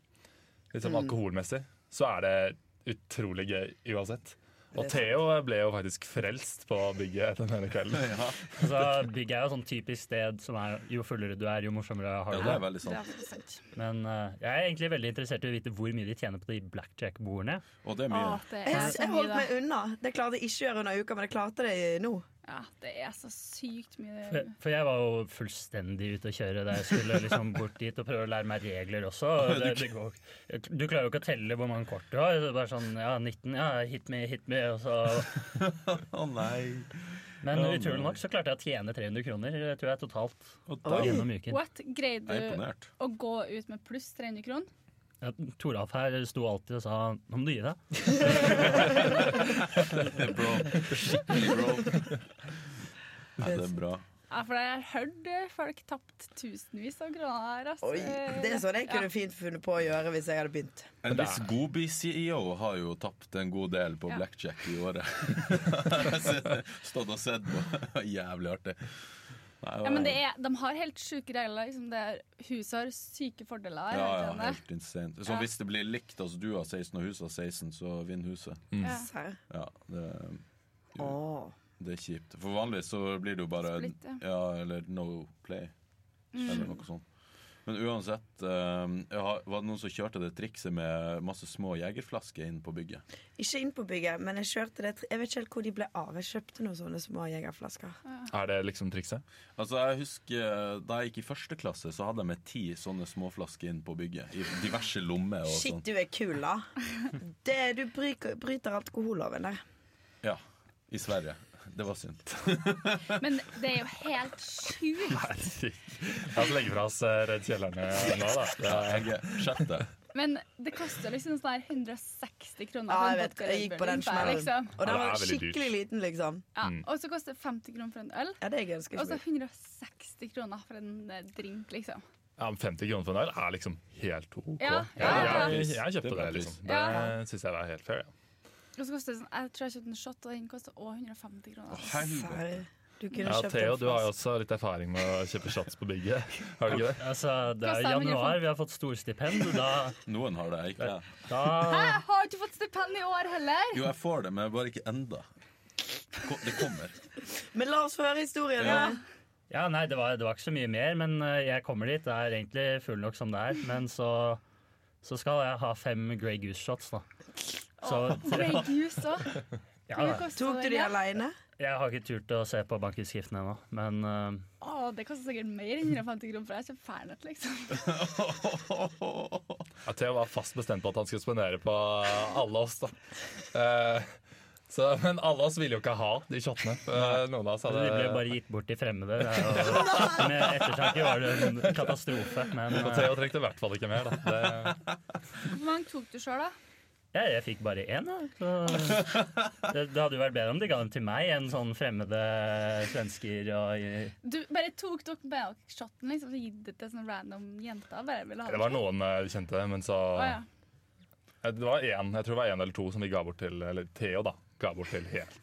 Speaker 6: liksom alkoholmessig, så er det utrolig gøy uansett. Og Theo ble jo faktisk frelst på bygget den ene
Speaker 2: *laughs*
Speaker 6: kvelden.
Speaker 1: Så Bygg er jo sånn typisk sted som er jo fullere du er, jo morsommere
Speaker 2: Ja,
Speaker 1: har du
Speaker 2: det
Speaker 1: det.
Speaker 2: er veldig
Speaker 4: Det
Speaker 2: sant.
Speaker 4: er faktisk sant.
Speaker 1: Men eh, jeg er egentlig veldig interessert i å vite hvor mye de tjener på de blackjack-bordene.
Speaker 2: Og det er
Speaker 4: Å,
Speaker 2: mye.
Speaker 4: det er
Speaker 3: Jeg,
Speaker 4: så
Speaker 3: jeg
Speaker 4: mye,
Speaker 3: holdt meg
Speaker 4: da.
Speaker 3: unna. Det klarte jeg ikke å gjøre under uka, men jeg klarte det nå.
Speaker 4: Ja, det er så sykt mye.
Speaker 1: For, Eh, for jeg var jo fullstendig ute å kjøre da jeg skulle liksom bort dit og prøve å lære meg regler også. og Det, det går, du klarer jo ikke å telle hvor mange kort du har. Det er bare sånn ja, 19, ja, hit me, hit me. Og så.
Speaker 2: Å nei.
Speaker 1: Men
Speaker 2: Ja,
Speaker 1: utrolig
Speaker 2: nei.
Speaker 1: nok så klarte jeg å tjene 300 kroner, eh, tror jeg, totalt
Speaker 2: Og
Speaker 3: Oi.
Speaker 2: da-
Speaker 1: gjennom uken.
Speaker 4: What?
Speaker 2: Jeg er
Speaker 4: Greide du
Speaker 2: imponert.
Speaker 4: å gå ut med pluss 300 kroner?
Speaker 1: Ja, Toralf her sto alltid og sa 'nå må du gi deg'.
Speaker 2: Det er bro. Skikkelig bro. Ja, det er bra.
Speaker 4: Ja, for jeg har hørt eh, folk tapt tusenvis av kroner. Altså.
Speaker 3: Oi. Det er sånn jeg kunne fint funnet på å gjøre hvis jeg hadde begynt.
Speaker 2: En viss Gobi-CEO har jo tapt en god del på
Speaker 4: Ja.
Speaker 2: blackjack i året. *laughs* Stått og sett på. *laughs* Jævlig artig. Nei,
Speaker 4: Ja, men det er, de har helt sjuke regler. Liksom det er, huset har syke fordeler.
Speaker 2: ja,
Speaker 4: har
Speaker 2: ja,
Speaker 4: ikke det?
Speaker 2: helt insane. Så
Speaker 4: Ja.
Speaker 2: hvis det blir likt, altså du har 16 og huset har 16, så vinner huset.
Speaker 4: Ja.
Speaker 3: Serr?
Speaker 2: Ja, det,
Speaker 3: Åh.
Speaker 2: det er kjipt. For vanligvis så blir det jo bare
Speaker 4: Splitt, ja.
Speaker 2: ja, eller no play, eller noe sånt. Men uansett, eh, jeg har- var det noen som kjørte det trikset med masse små jegerflasker inn på bygget?
Speaker 3: Ikke inn på bygget, men jeg kjørte det tr- Jeg vet ikke helt hvor de ble av. Jeg kjøpte noen sånne små jegerflasker.
Speaker 6: Er det liksom trikset? *laughs*
Speaker 2: Altså, jeg husker Da jeg gikk i første klasse, så hadde jeg med ti sånne småflasker inn på bygget. I diverse lommer og
Speaker 3: Shit,
Speaker 2: sånn.
Speaker 3: du er kul, da. Det, du bryter, bryter alkoholloven der.
Speaker 2: Ja, I Sverige. Det var synd.
Speaker 4: Men det er jo helt sjukt.
Speaker 6: Herregud. La oss legge fra oss eh, Redd kjellerne nå, da. Det er-
Speaker 2: Jeg er sjette.
Speaker 4: Men det koster liksom sånn her 160 kroner.
Speaker 3: Ja,
Speaker 4: for en
Speaker 3: jeg vet.
Speaker 4: vodka
Speaker 3: Jeg
Speaker 4: Red
Speaker 3: gikk
Speaker 4: Bull
Speaker 3: på den
Speaker 4: innpå her,
Speaker 3: smellen.
Speaker 4: liksom.
Speaker 3: Og den
Speaker 6: Ja, det
Speaker 3: var
Speaker 6: er veldig dyrt.
Speaker 3: skikkelig liten, liksom.
Speaker 4: Ja,
Speaker 6: Mm.
Speaker 4: og så koster det 50 kroner for en øl.
Speaker 3: Ja, det ganske
Speaker 4: Og så
Speaker 3: ikke
Speaker 4: 160 kroner for en eh, drink, liksom.
Speaker 6: Ja, men 50 kroner for en øl er liksom helt OK.
Speaker 4: Ja, ja, ja.
Speaker 6: Jeg, jeg, jeg
Speaker 2: Det
Speaker 6: kjøpte
Speaker 2: er
Speaker 6: det,
Speaker 2: billig.
Speaker 6: liksom.
Speaker 4: Ja.
Speaker 6: Det syns jeg var helt fair. Ja.
Speaker 4: Og så koster det sånn, Jeg tror jeg kjøpte en shot, og den koster også 150 kroner.
Speaker 2: Helvete.
Speaker 3: Du kunne
Speaker 6: Ja,
Speaker 3: kjøpt
Speaker 6: Theo,
Speaker 3: en
Speaker 6: du har jo
Speaker 3: flaske.
Speaker 6: også litt erfaring med å kjøpe shots på bygget. Har du ikke det?
Speaker 1: Altså, det er
Speaker 4: Kosta
Speaker 1: jo
Speaker 4: meg
Speaker 1: januar, vi har fått storstipend. Da,
Speaker 2: Noen har det, jeg ikke jeg.
Speaker 1: da
Speaker 4: Jeg har ikke fått stipend i år heller!
Speaker 2: Jo, jeg får det, men bare ikke enda. Ko- Det kommer.
Speaker 3: Men la oss få høre historien.
Speaker 2: Ja.
Speaker 3: da.
Speaker 1: Ja, nei, det var, det var ikke så mye mer, men eh, jeg kommer dit. Det er egentlig full nok som det er. Men så, så skal jeg ha fem Grey Goose shots, da. Så
Speaker 4: Grey Goose òg.
Speaker 1: ja, da.
Speaker 3: Tok du de aleine?
Speaker 1: jeg har ikke turt å se på bankutskriftene ennå, men eh,
Speaker 4: Å, det koster sikkert mer enn 150 kroner, for jeg kjøper Fernet, liksom.
Speaker 6: Ja, Theo var fast bestemt på at han skulle spendere på alle oss, da. Eh, så, men alle oss ville jo ikke ha de shotene. Eh, Noen av oss hadde
Speaker 1: de ble bare gitt bort til fremmede. Det er jo- Med ettertanke var det en katastrofe, men
Speaker 6: Og
Speaker 1: eh,
Speaker 6: Theo trengte i hvert fall ikke mer. Da. Det,
Speaker 4: Hvor mange tok du sjøl, da?
Speaker 1: ja, jeg fikk bare én. da, Så det, det hadde jo vært bedre om de ga den til meg enn sånn fremmede svensker og
Speaker 4: Du bare tok dere med dere shotten liksom, og gitt det til sånne random jenter? Bare ville ha
Speaker 6: det var noen eh, kjente, men så
Speaker 4: Å, ja.
Speaker 6: Eh, Det var én, jeg tror det var én eller to som vi ga bort til Eller Theo, da. Ga bort til helt.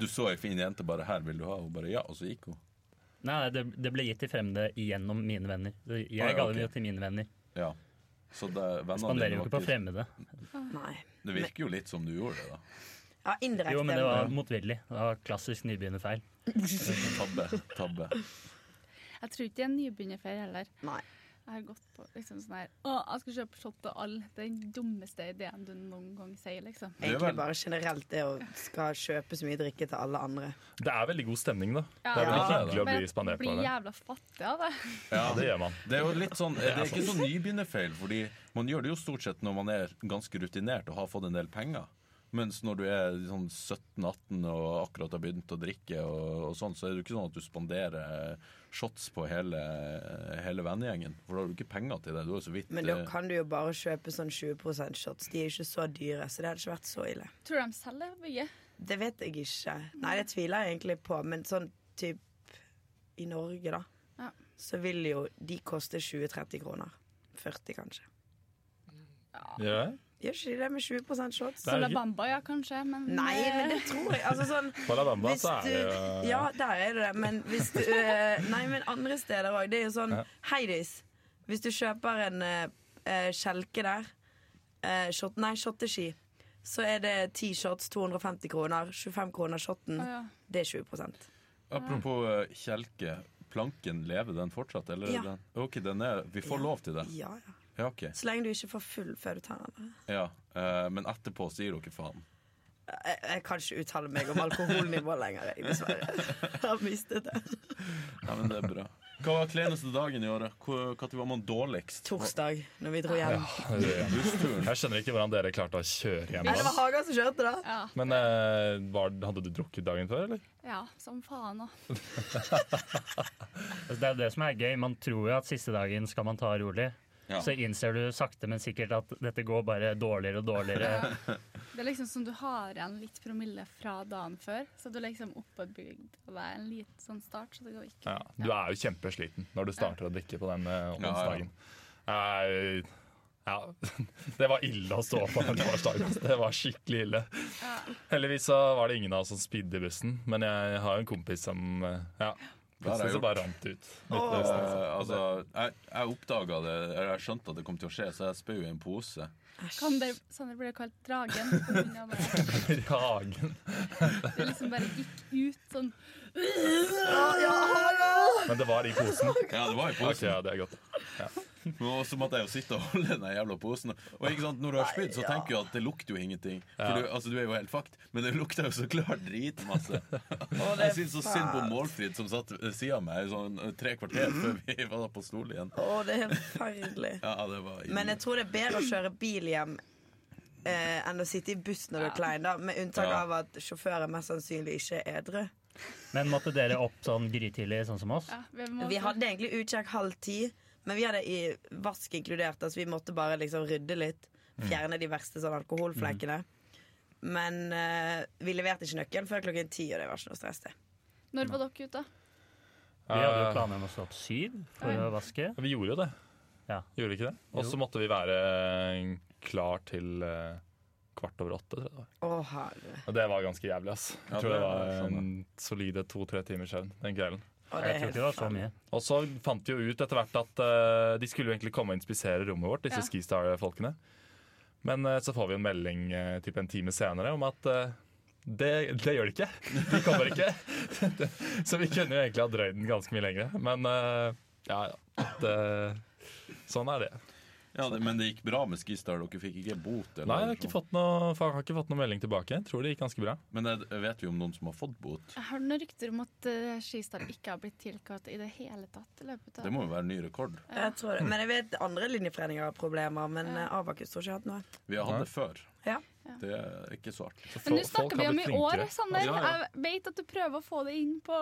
Speaker 2: Du så ei fin jente bare her, vil du ha? Hun bare ja, og så gikk hun.
Speaker 1: Nei, det, det ble gitt til fremmede gjennom mine venner. Jeg
Speaker 2: Ah, ja,
Speaker 1: ga
Speaker 2: ok.
Speaker 1: dem jo til mine venner.
Speaker 2: Ja. Så det, vennene
Speaker 1: Spanderer
Speaker 2: dine
Speaker 1: jo
Speaker 2: var
Speaker 1: ikke på
Speaker 2: ikke-
Speaker 1: fremmede.
Speaker 3: Nei.
Speaker 2: Det virker jo litt som du gjorde det, da.
Speaker 3: Ja, indirekte.
Speaker 1: Jo, men det var motvillig. Det var klassisk nybegynnerfeil.
Speaker 2: Tabbe. Tabbe.
Speaker 4: Jeg tror ikke det er en nybegynnerferie heller.
Speaker 3: Nei.
Speaker 4: Jeg har gått på liksom sånn her Å, jeg skal kjøpe shot til alle. Det er den dummeste ideen du noen gang sier, liksom.
Speaker 2: er
Speaker 3: Egentlig
Speaker 2: vel-
Speaker 3: bare generelt det å skal kjøpe så mye drikke til alle andre.
Speaker 6: Det er veldig god stemning, da.
Speaker 4: Ja,
Speaker 6: det er veldig
Speaker 2: ja.
Speaker 6: hyggelig å
Speaker 4: Men
Speaker 6: bli spandert på.
Speaker 4: Blir
Speaker 6: Det.
Speaker 4: jævla fattig av det.
Speaker 2: Ja,
Speaker 6: det gjør man.
Speaker 2: Det er jo litt sånn, det er ikke sånn nybegynnerfeil, fordi man gjør det jo stort sett når man er ganske rutinert og har fått en del penger. Mens når du er sånn 17-18 og akkurat har begynt å drikke, og, og sånn, så er det jo ikke sånn at du spanderer eh, shots på hele, hele vennegjengen. For da har du ikke penger til det. Du har jo så vidt
Speaker 3: Men da
Speaker 2: eh,
Speaker 3: kan du jo bare kjøpe sånn 20 shots. De er ikke så dyre, så det hadde ikke vært så ille.
Speaker 4: Tror du de selger bygget?
Speaker 3: Det vet jeg ikke. Nei, det tviler jeg egentlig på, men sånn typ i Norge, da,
Speaker 4: Ja.
Speaker 3: så vil jo de koste 20-30 kroner. 40, kanskje.
Speaker 6: Gjør det?
Speaker 3: Gjør ikke de det med 20 shots?
Speaker 4: Sola Bamba, ja, kanskje, men eh,
Speaker 3: Nei, men det tror jeg. Altså sånn
Speaker 6: På La Bamba
Speaker 3: Hvis
Speaker 6: så er det jo
Speaker 3: du- Ja, der er det det. Men hvis du eh, Nei, men andre steder òg. Det er jo sånn Heidis. Hvis du kjøper en eh, eh, skjelke der eh, shot, Nei, shotteski. så er det T-shirts 250 kroner. 25 kroner shotten.
Speaker 4: Å, ja.
Speaker 3: Det er 20
Speaker 2: Apropos eh, kjelke. Planken, lever den fortsatt? Eller
Speaker 3: Ja.
Speaker 2: den? OK, den er, vi får
Speaker 3: Ja.
Speaker 2: lov til det.
Speaker 3: Ja, ja.
Speaker 2: Ja, ok.
Speaker 3: Så lenge du ikke får full før du tar den.
Speaker 2: Ja. eh, men etterpå sier dere faen.
Speaker 3: Jeg, jeg kan ikke uttale meg om alkoholnivå lenger, jeg, dessverre. Jeg har mistet det.
Speaker 2: Ja, men det er bra. *laughs* Hva var kleneste dagen i året? Hvor- Når var man dårligst?
Speaker 3: Torsdag, når vi dro hjem.
Speaker 2: Bussturen.
Speaker 6: Jeg skjønner ikke hvordan dere klarte å kjøre hjem.
Speaker 3: Ja, det var
Speaker 6: da.
Speaker 3: Haga som kjørte, da.
Speaker 4: Ja,
Speaker 6: Men eh, var, hadde du drukket dagen før, eller?
Speaker 4: ja, som faen òg.
Speaker 1: Altså, Det er det som er gøy. Man tror jo at siste dagen skal man ta rolig.
Speaker 2: *laughs* Ja.
Speaker 1: Så innser du sakte, men sikkert at dette går bare dårligere og
Speaker 2: *laughs*
Speaker 1: dårligere.
Speaker 4: Det er liksom som du har igjen litt promille fra dagen før. Så du er liksom oppebygd av deg en liten sånn start, så det går ikke.
Speaker 6: Ja. Du er jo kjempesliten når du starter å drikke på den eh,
Speaker 2: Ja, ja.
Speaker 6: onsdagen. Eh, ja, *laughs* det var ille å stå på den torsdagen. ass. Det var skikkelig ille. Heldigvis så var det ingen av oss som spydde i bussen, men jeg har jo en kompis som eh, Ja,
Speaker 2: har
Speaker 6: plutselig så
Speaker 2: jeg gjort.
Speaker 6: bare rant det ut.
Speaker 2: Eh,
Speaker 6: Litt, *laughs* eh,
Speaker 2: altså, jeg, jeg oppdaga det, eller jeg skjønte at det kom til å skje, så jeg spøy i en pose.
Speaker 4: Kan dere, Sander ble kalt dragen. på grunn av Det
Speaker 6: Kragen.
Speaker 4: Det liksom bare gikk ut sånn.
Speaker 6: Men det var i posen.
Speaker 2: Ja, det var i
Speaker 6: Ok,
Speaker 2: posen.
Speaker 6: ja, det er godt.
Speaker 2: Og så måtte jeg jo sitte og holde den jævla posen. Og ikke sant, når du har spydd, så tenker du at det lukter jo ingenting. For du, altså, du er jo helt fucked, men det lukter jo så klart dritmasse. Jeg syns så synd på Målfrid, som satt ved sida av meg i sånn tre kvarter
Speaker 3: Mm.
Speaker 2: før vi var på stol igjen.
Speaker 3: Å, det er helt forferdelig.
Speaker 2: Ja, det var ille.
Speaker 3: Men jeg tror det er bedre å kjøre bil hjem eh, enn å sitte i buss når du er klein, da. Med unntak
Speaker 2: Ja.
Speaker 3: av at sjåføren mest sannsynlig ikke er edru.
Speaker 1: Men måtte dere opp sånn grytidlig, sånn som oss?
Speaker 4: Ja, vi, må,
Speaker 3: Vi hadde egentlig utkjekk halv ti, men vi hadde i vask inkludert, altså vi måtte bare liksom rydde litt.
Speaker 1: Mm.
Speaker 3: Fjerne de verste sånn alkoholflekkene. Men eh, vi leverte ikke nøkkelen før klokken ti, og det var ikke noe stress, det.
Speaker 4: Når var dere ute?
Speaker 1: Vi hadde jo
Speaker 6: Eh,
Speaker 1: planer om å stå opp syv for å vaske.
Speaker 6: Vi gjorde jo det.
Speaker 1: Ja.
Speaker 6: Gjorde vi ikke det? Og så
Speaker 1: Jo.
Speaker 6: måtte vi være eh, klar til eh, kvart over åtte. Tror jeg det, var.
Speaker 3: Å, herre.
Speaker 6: Og det var ganske jævlig. ass. Jeg
Speaker 2: Ja,
Speaker 6: tror det
Speaker 2: det
Speaker 6: var
Speaker 2: skjønner
Speaker 6: en solide to-tre timers søvn den kvelden.
Speaker 3: Å, det er
Speaker 1: Jeg tror
Speaker 3: helt
Speaker 1: ikke det var så
Speaker 3: faen.
Speaker 1: mye.
Speaker 6: Og så fant vi jo ut etter hvert at eh, de skulle jo egentlig komme og inspisere rommet vårt, disse
Speaker 4: Ja.
Speaker 6: Skistar-folkene. Men eh, så får vi en melding eh, typ en time senere om at eh, det, det gjør de ikke. De kommer ikke. *laughs* så vi kunne jo egentlig ha drøyd den ganske mye lenger. Men eh, ja, ja. Det, sånn er det.
Speaker 2: Ja, det, men det gikk bra med Skistar. Dere fikk ikke bot? Eller
Speaker 6: Nei, jeg har ikke
Speaker 2: sånn.
Speaker 6: fått noe, jeg har ikke fått noe melding tilbake. Jeg tror det gikk ganske bra.
Speaker 2: Men det vet vi om noen som har fått bot.
Speaker 4: Jeg hørte noen rykter om at uh, Skistar ikke har blitt tilkalt i det hele tatt i løpet av
Speaker 2: Det må jo være ny rekord.
Speaker 3: Jeg tror det. Men jeg vet andre linjeforeninger har problemer, men eh, Abakus tror ikke jeg har hatt noe.
Speaker 2: Vi har
Speaker 6: Nei.
Speaker 2: hatt det før.
Speaker 3: Ja.
Speaker 2: Det er ikke så artig.
Speaker 4: Men
Speaker 6: Fol-
Speaker 4: nå
Speaker 6: folk
Speaker 4: snakker vi
Speaker 6: har
Speaker 4: om i
Speaker 6: blitt
Speaker 4: år,
Speaker 6: flinkere.
Speaker 4: Sander.
Speaker 2: Ja, ja.
Speaker 4: Jeg vet at du prøver å få det inn på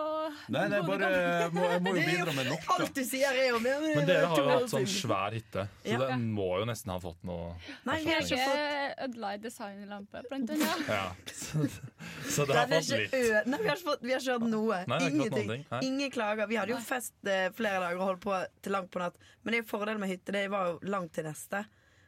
Speaker 2: Nei, nei, bare, jeg må, jeg må jo
Speaker 3: Det er jo-
Speaker 2: bidra med noe.
Speaker 3: Alt du sier, er jo mer
Speaker 6: Men dere har jo hatt sånn svær hytte, så
Speaker 3: Ja.
Speaker 6: den må jo nesten ha fått noe
Speaker 3: Nei, vi har
Speaker 4: Jeg
Speaker 3: ikke fått
Speaker 4: ødela ei designlampe, blant annet.
Speaker 6: Ja. *laughs* Så, så dere har
Speaker 3: den
Speaker 6: fått
Speaker 3: er ikke
Speaker 6: litt.
Speaker 3: ø... Nei, vi har ikke fått, vi har ikke hatt noe.
Speaker 6: Nei, det er ikke noe
Speaker 3: Ingenting.
Speaker 6: annet. Nei.
Speaker 3: Ingen klager. Vi hadde jo fest eh, flere dager og holdt på til langt på natt. Men det er jo fordelen med hytte. Det var jo langt til neste.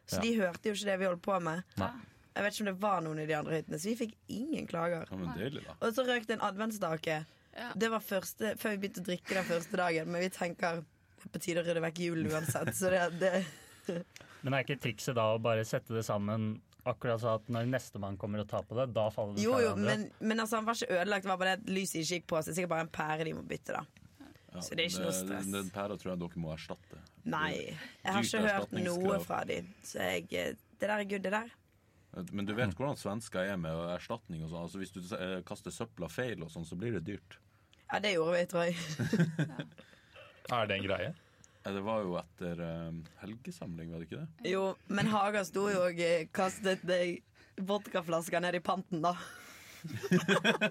Speaker 3: Så
Speaker 6: Ja.
Speaker 3: de hørte jo ikke det vi holdt på med.
Speaker 6: Nei.
Speaker 3: Jeg vet ikke om det var noen i de andre hyttene, så vi fikk ingen klager.
Speaker 2: Ja, men deilig, da.
Speaker 3: Og så røk det en adventsstake.
Speaker 4: Ja.
Speaker 3: Det var første, før vi begynte å drikke den første dagen, men vi tenker det er på tide å rydde vekk julen uansett. Så det, det
Speaker 1: Men er ikke trikset da å bare sette det sammen akkurat så at når nestemann kommer og tar på det, da faller det
Speaker 3: Jo,
Speaker 1: fra
Speaker 3: jo,
Speaker 1: hverandre?
Speaker 3: men, men altså, han var ikke ødelagt. Det var bare det at lyset ikke gikk på. Så det er sikkert bare en pære de må bytte, da.
Speaker 2: Ja,
Speaker 3: Så det er ikke noe stress.
Speaker 2: Den, den pæra tror jeg dere må erstatte.
Speaker 3: Nei. Jeg har
Speaker 2: Dyrt
Speaker 3: ikke hørt noe
Speaker 2: erstatningskrav.
Speaker 3: fra de. Så jeg eh, Det der er good, det der.
Speaker 2: Men du vet hvordan svensker er med erstatning og sånn. Altså, hvis du eh, kaster søpla feil og sånn, så blir det dyrt.
Speaker 3: Ja, det gjorde vi, tror jeg. *laughs*
Speaker 6: Er det en greie?
Speaker 2: Eh, Det var jo etter eh, helgesamling, var det ikke det?
Speaker 3: Jo, men Haga sto jo og eh, kastet de vodkaflasker ned i panten, da.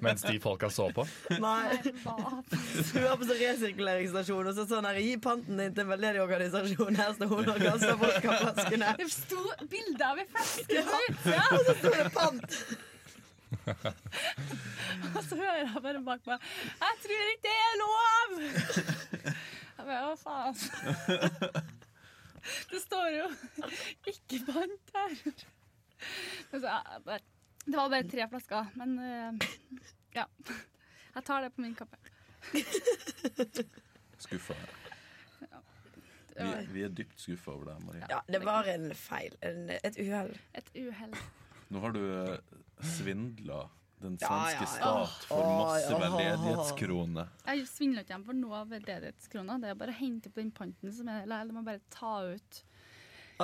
Speaker 6: Mens de folka så på?
Speaker 3: Nei.
Speaker 4: Nei, hva?
Speaker 3: Du var på sånn resirkuleringsstasjon og så sånn her Gi panten din til en veldedig organisasjon. Her står hun og kaster
Speaker 4: *laughs*
Speaker 3: vodkaflaskene.
Speaker 4: Det sto bilde av ei flaske
Speaker 3: Ja.
Speaker 4: på utsida,
Speaker 3: Og så sto det pant!
Speaker 4: og *laughs* så hører jeg bare bak meg 'Jeg tror ikke det er lov!' Jeg bare, Hva faen? *laughs* Det står jo 'ikke pant' her. Men så, ja, bare- det var bare tre flasker, men eh, ja. Jeg tar det på min kappe.
Speaker 2: Skuffa.
Speaker 4: Det
Speaker 2: Vi,
Speaker 4: var
Speaker 2: vi er dypt skuffa over deg, Marie.
Speaker 3: Ja, det var en feil. En, et uhell.
Speaker 4: et uhell.
Speaker 2: Nå har du svindla den
Speaker 3: Ja, ja,
Speaker 2: svenske
Speaker 3: ja.
Speaker 2: stat for
Speaker 3: Åh,
Speaker 2: masse
Speaker 3: ja.
Speaker 2: veldedighetskroner.
Speaker 4: Jeg svindler ikke dem for noe av veldedighetskroner. Det er bare å hente på den panten som er eller man bare ta ut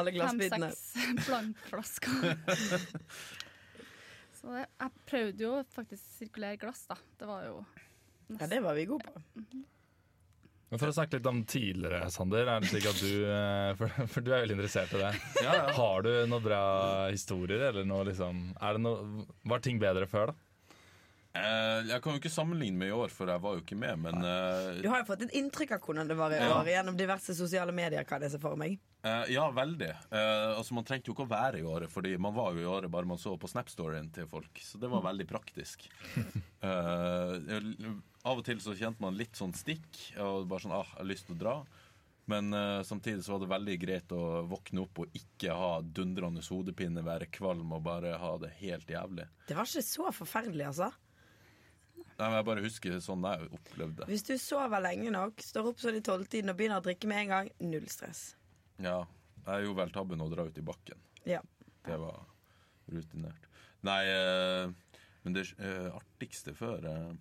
Speaker 3: Alle glassbitene.
Speaker 4: fem-seks *laughs* blankflasker. Så det, jeg prøvde jo faktisk sirkulere glass, da. Det var jo
Speaker 3: Ja, det var vi gode på.
Speaker 6: Men For å snakke litt om tidligere, Sander. Er det slik at du, eh, for, for du er veldig interessert i det.
Speaker 2: Ja, ja.
Speaker 6: Har du noen bra historier? Eller noe liksom er det noe, Var ting bedre før, da?
Speaker 2: Eh, Jeg kan jo ikke sammenligne med i år, for jeg var jo ikke med, men eh,
Speaker 3: Du har jo fått et inntrykk av hvordan det var i
Speaker 2: Ja.
Speaker 3: år gjennom diverse sosiale medier. kan jeg se for meg.
Speaker 2: Eh, ja, veldig. Eh, altså, Man trengte jo ikke å være i året, fordi man var jo i året bare man så på Snap-storyen til folk. Så det var veldig praktisk. Eh, av og til så kjente man litt sånn stikk, og bare sånn ah, jeg har lyst til å dra. Men eh, samtidig så var det veldig greit å våkne opp og ikke ha dundrende hodepine, være kvalm og bare ha det helt jævlig.
Speaker 3: Det var ikke så forferdelig, altså.
Speaker 2: Nei, men Jeg bare husker sånn jeg opplevde det.
Speaker 3: Hvis du sover lenge nok, står opp sånn i tolvtiden og begynner å drikke med en gang, null stress.
Speaker 2: Ja, jeg gjorde vel tabben å dra ut i bakken.
Speaker 3: Ja.
Speaker 2: Det var rutinert. Nei, eh, men det eh, artigste før eh,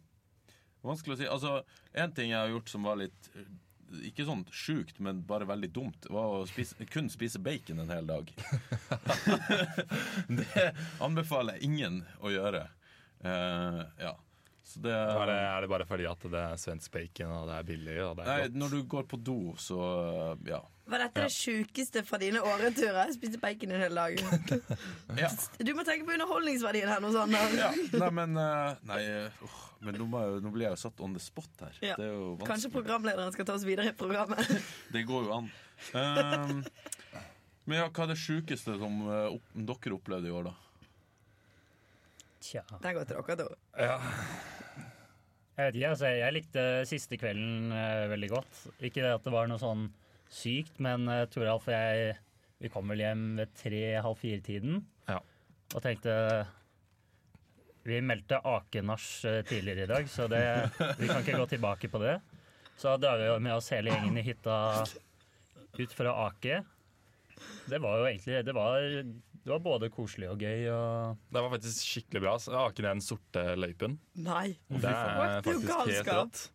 Speaker 2: Vanskelig å si. Altså, en ting jeg har gjort som var litt eh, ikke sånn sjukt, men bare veldig dumt, var å spise, kun spise bacon en hel
Speaker 6: *laughs*
Speaker 2: dag. det anbefaler jeg ingen å gjøre. Eh, ja. Så det
Speaker 6: Er det, er det bare fordi at det er svensk bacon, og det er billig? Og det
Speaker 2: Nei,
Speaker 6: er godt?
Speaker 2: når du går på do, så eh, ja.
Speaker 3: Var dette det sjukeste fra dine åreturer? Jeg spiste bacon en
Speaker 2: *laughs*
Speaker 3: hel dag.
Speaker 2: ja.
Speaker 3: Du må tenke på underholdningsverdien her nå, Sander.
Speaker 6: *laughs*
Speaker 2: Ja, nei, men, eh, nei, eh, åh, men nå, må jeg, nå blir jeg jo satt on the spot her.
Speaker 3: Ja.
Speaker 2: Det er jo
Speaker 3: Kanskje
Speaker 2: vanskelig.
Speaker 3: programlederen skal ta oss videre i programmet.
Speaker 2: Det går jo an. Ehm, men ja, hva er det sjukeste som eh, opp, dere opplevde i år, da?
Speaker 1: Tja.
Speaker 3: Den går til dere to.
Speaker 1: Jeg vet ikke, altså, jeg likte siste kvelden eh, veldig godt. Ikke det at det var noe sånn sykt, men uh, Toralf og jeg vi kom vel hjem ved tre-halv fire-tiden
Speaker 6: Ja.
Speaker 1: og tenkte Vi meldte akenasj eh, tidligere i dag, så det, vi kan ikke gå tilbake på det. Så da drar vi jo med oss hele gjengen i hytta ut for å ake. Det var jo egentlig Det var, det var både koselig og gøy og
Speaker 6: Det var faktisk skikkelig bra. ass. Jeg har ikke den sorte løypen.
Speaker 3: Nei.
Speaker 6: Mhm. Det er
Speaker 3: faen. Det er jo
Speaker 6: faktisk helt
Speaker 3: galskap.
Speaker 6: rått.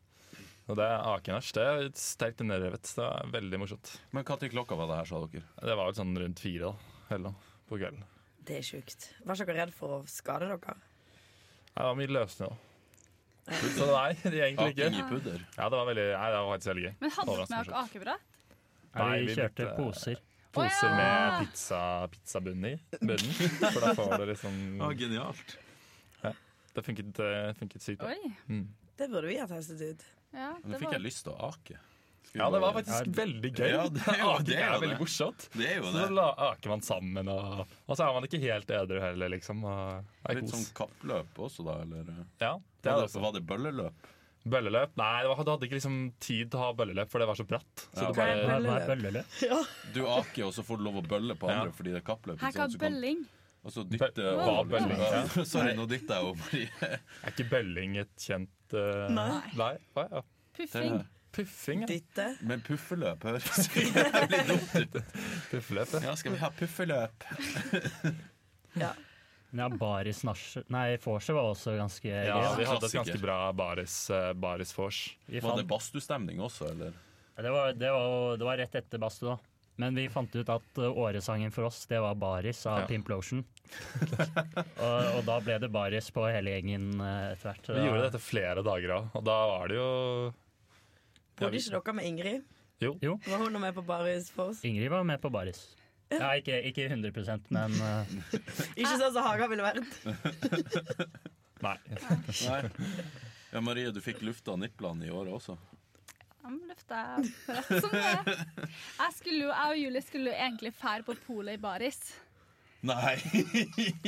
Speaker 6: Og det er akenæsj. Det er sterkt underrevet. Det er veldig morsomt.
Speaker 2: Men hva til klokka var det her, sa dere?
Speaker 6: Det var vel sånn rundt fire da, eller noe, på kvelden. Nei,
Speaker 3: Det er sjukt. Var ikke dere redd for å skade dere?
Speaker 6: Det var mye løssnø. Så nei, egentlig
Speaker 2: Aking
Speaker 6: ikke.
Speaker 2: i pudder.
Speaker 6: Ja, det var, veldig, nei, det var faktisk veldig gøy.
Speaker 4: Men hadde dere med
Speaker 6: Overraskende
Speaker 4: dere akebrett?
Speaker 6: Nei,
Speaker 1: Vi
Speaker 6: vi
Speaker 1: kjørte
Speaker 6: brukte-
Speaker 1: poser.
Speaker 6: Poser
Speaker 4: Å, ja!
Speaker 6: med pizza, pizzabunn i bunnen. For da får du liksom
Speaker 2: genialt.
Speaker 6: Det funket, eh, funket sykt bra. Mm.
Speaker 4: Oi.
Speaker 3: Det burde vi ha testet ut.
Speaker 4: Ja,
Speaker 2: Nå
Speaker 4: det
Speaker 2: fikk
Speaker 4: var
Speaker 2: jeg lyst til å ake. Skal vi
Speaker 6: Ja, det var
Speaker 2: bare-
Speaker 6: faktisk veldig gøy.
Speaker 2: Ja, det er jo-
Speaker 6: Aking
Speaker 2: det er jo
Speaker 6: er veldig
Speaker 2: det.
Speaker 6: morsomt.
Speaker 2: Det er jo
Speaker 6: Så
Speaker 2: det.
Speaker 6: la, aker man sammen, og, og så er man ikke helt edru heller, liksom. Og, det er
Speaker 2: Litt
Speaker 6: kos.
Speaker 2: sånn kappløp også, da? Eller eh,
Speaker 6: ja, det er
Speaker 2: var,
Speaker 6: det
Speaker 2: det,
Speaker 6: også.
Speaker 2: var det bølleløp?
Speaker 6: Bølleløp? Nei, det var, du hadde ikke liksom tid til å ha bølleløp, for det var så bratt. Så
Speaker 2: Ja.
Speaker 6: det bare,
Speaker 1: Nei, nei,
Speaker 3: Bølleløp.
Speaker 1: bølleløp.
Speaker 2: Du aker, og så får du lov å bølle på andre
Speaker 6: Ja.
Speaker 2: fordi det er kappløp. ikke
Speaker 4: Her
Speaker 2: sant?
Speaker 4: kan
Speaker 2: Så kan-
Speaker 4: bølling.
Speaker 2: Og så dytte
Speaker 6: Bø-
Speaker 2: og-
Speaker 6: Hva bølling? Ja.
Speaker 2: *laughs* Sorry, nå dytta jeg jo,
Speaker 4: *laughs*
Speaker 2: Marie.
Speaker 6: er ikke bølling et kjent eh,
Speaker 3: Nei.
Speaker 6: Nei, hva, ja.
Speaker 4: Puffing.
Speaker 6: Puffing, ja.
Speaker 3: Dytte.
Speaker 2: Men puffeløp høres *laughs* jævlig dumt ut.
Speaker 6: Puffeløp. ja.
Speaker 2: Ja, skal vi ha puffeløp?
Speaker 3: Ja.
Speaker 1: Ja, baris nasje Nei, vorset var også ganske
Speaker 6: Ja,
Speaker 1: gøy.
Speaker 6: vi hadde et
Speaker 2: Klassiker.
Speaker 6: ganske bra baris, uh, baris vors.
Speaker 1: Vi
Speaker 2: Var det
Speaker 1: fant,
Speaker 2: badstuestemning også, eller?
Speaker 1: det, var, det, var, jo- det var rett etter Bastu, da. Men vi fant ut at uh, åresangen for oss, det var Baris av
Speaker 6: Ja.
Speaker 1: Pimplotion. *laughs* og, og da ble det Baris på hele gjengen uh, etter hvert.
Speaker 6: Vi gjorde dette flere dager òg, og da var det jo
Speaker 3: Bodde ikke dere med Ingrid?
Speaker 6: Jo.
Speaker 1: Jo.
Speaker 3: Var hun med på Baris for oss?
Speaker 1: Ingrid var med på Baris. Ja, ikke, ikke 100 men uh,
Speaker 3: Ikke sånn som Haga ville vært. *laughs*
Speaker 6: Nei.
Speaker 2: Nei. Ja, Marie, du fikk lufta nipplene i året også.
Speaker 4: Han løfta rett som det. er. Jeg, skulle jo, jeg og Julie skulle jo egentlig fære på polet i baris
Speaker 2: Nei!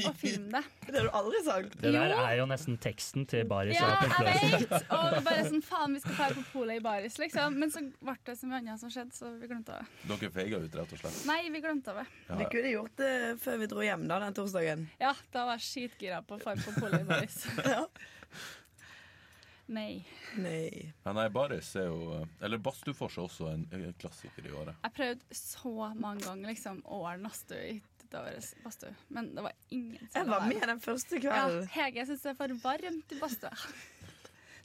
Speaker 4: og filme det.
Speaker 3: Det har du aldri sagt.
Speaker 1: det der
Speaker 4: Jo.
Speaker 1: er jo nesten teksten til Baris
Speaker 4: Ja,
Speaker 1: av Pimplotion.
Speaker 4: jeg vet! Og vi bare sånn faen, vi skal fære på polet i baris, liksom. Men så ble det så mye annet som skjedde, så vi glemte det.
Speaker 2: *laughs* Dere feiga ut, rett og slett.
Speaker 4: Nei, vi glemte det.
Speaker 3: Vi kunne gjort det før vi dro hjem da, den
Speaker 2: *laughs*
Speaker 3: torsdagen.
Speaker 4: Ja, da var jeg skitgira på å fare på polet i baris. Nei.
Speaker 3: Nei.
Speaker 2: Ja, nei, Baris er jo Eller Badstuefors er også en en klassiker i året.
Speaker 4: Jeg prøvde så mange ganger liksom, å ordne Astøy ut av årets badstue, men det var ingen som
Speaker 3: Jeg
Speaker 4: ville
Speaker 3: var
Speaker 4: være
Speaker 3: med den første
Speaker 4: Ja,
Speaker 3: kvelden.
Speaker 4: Hege syns det er for varmt i badstua. *laughs*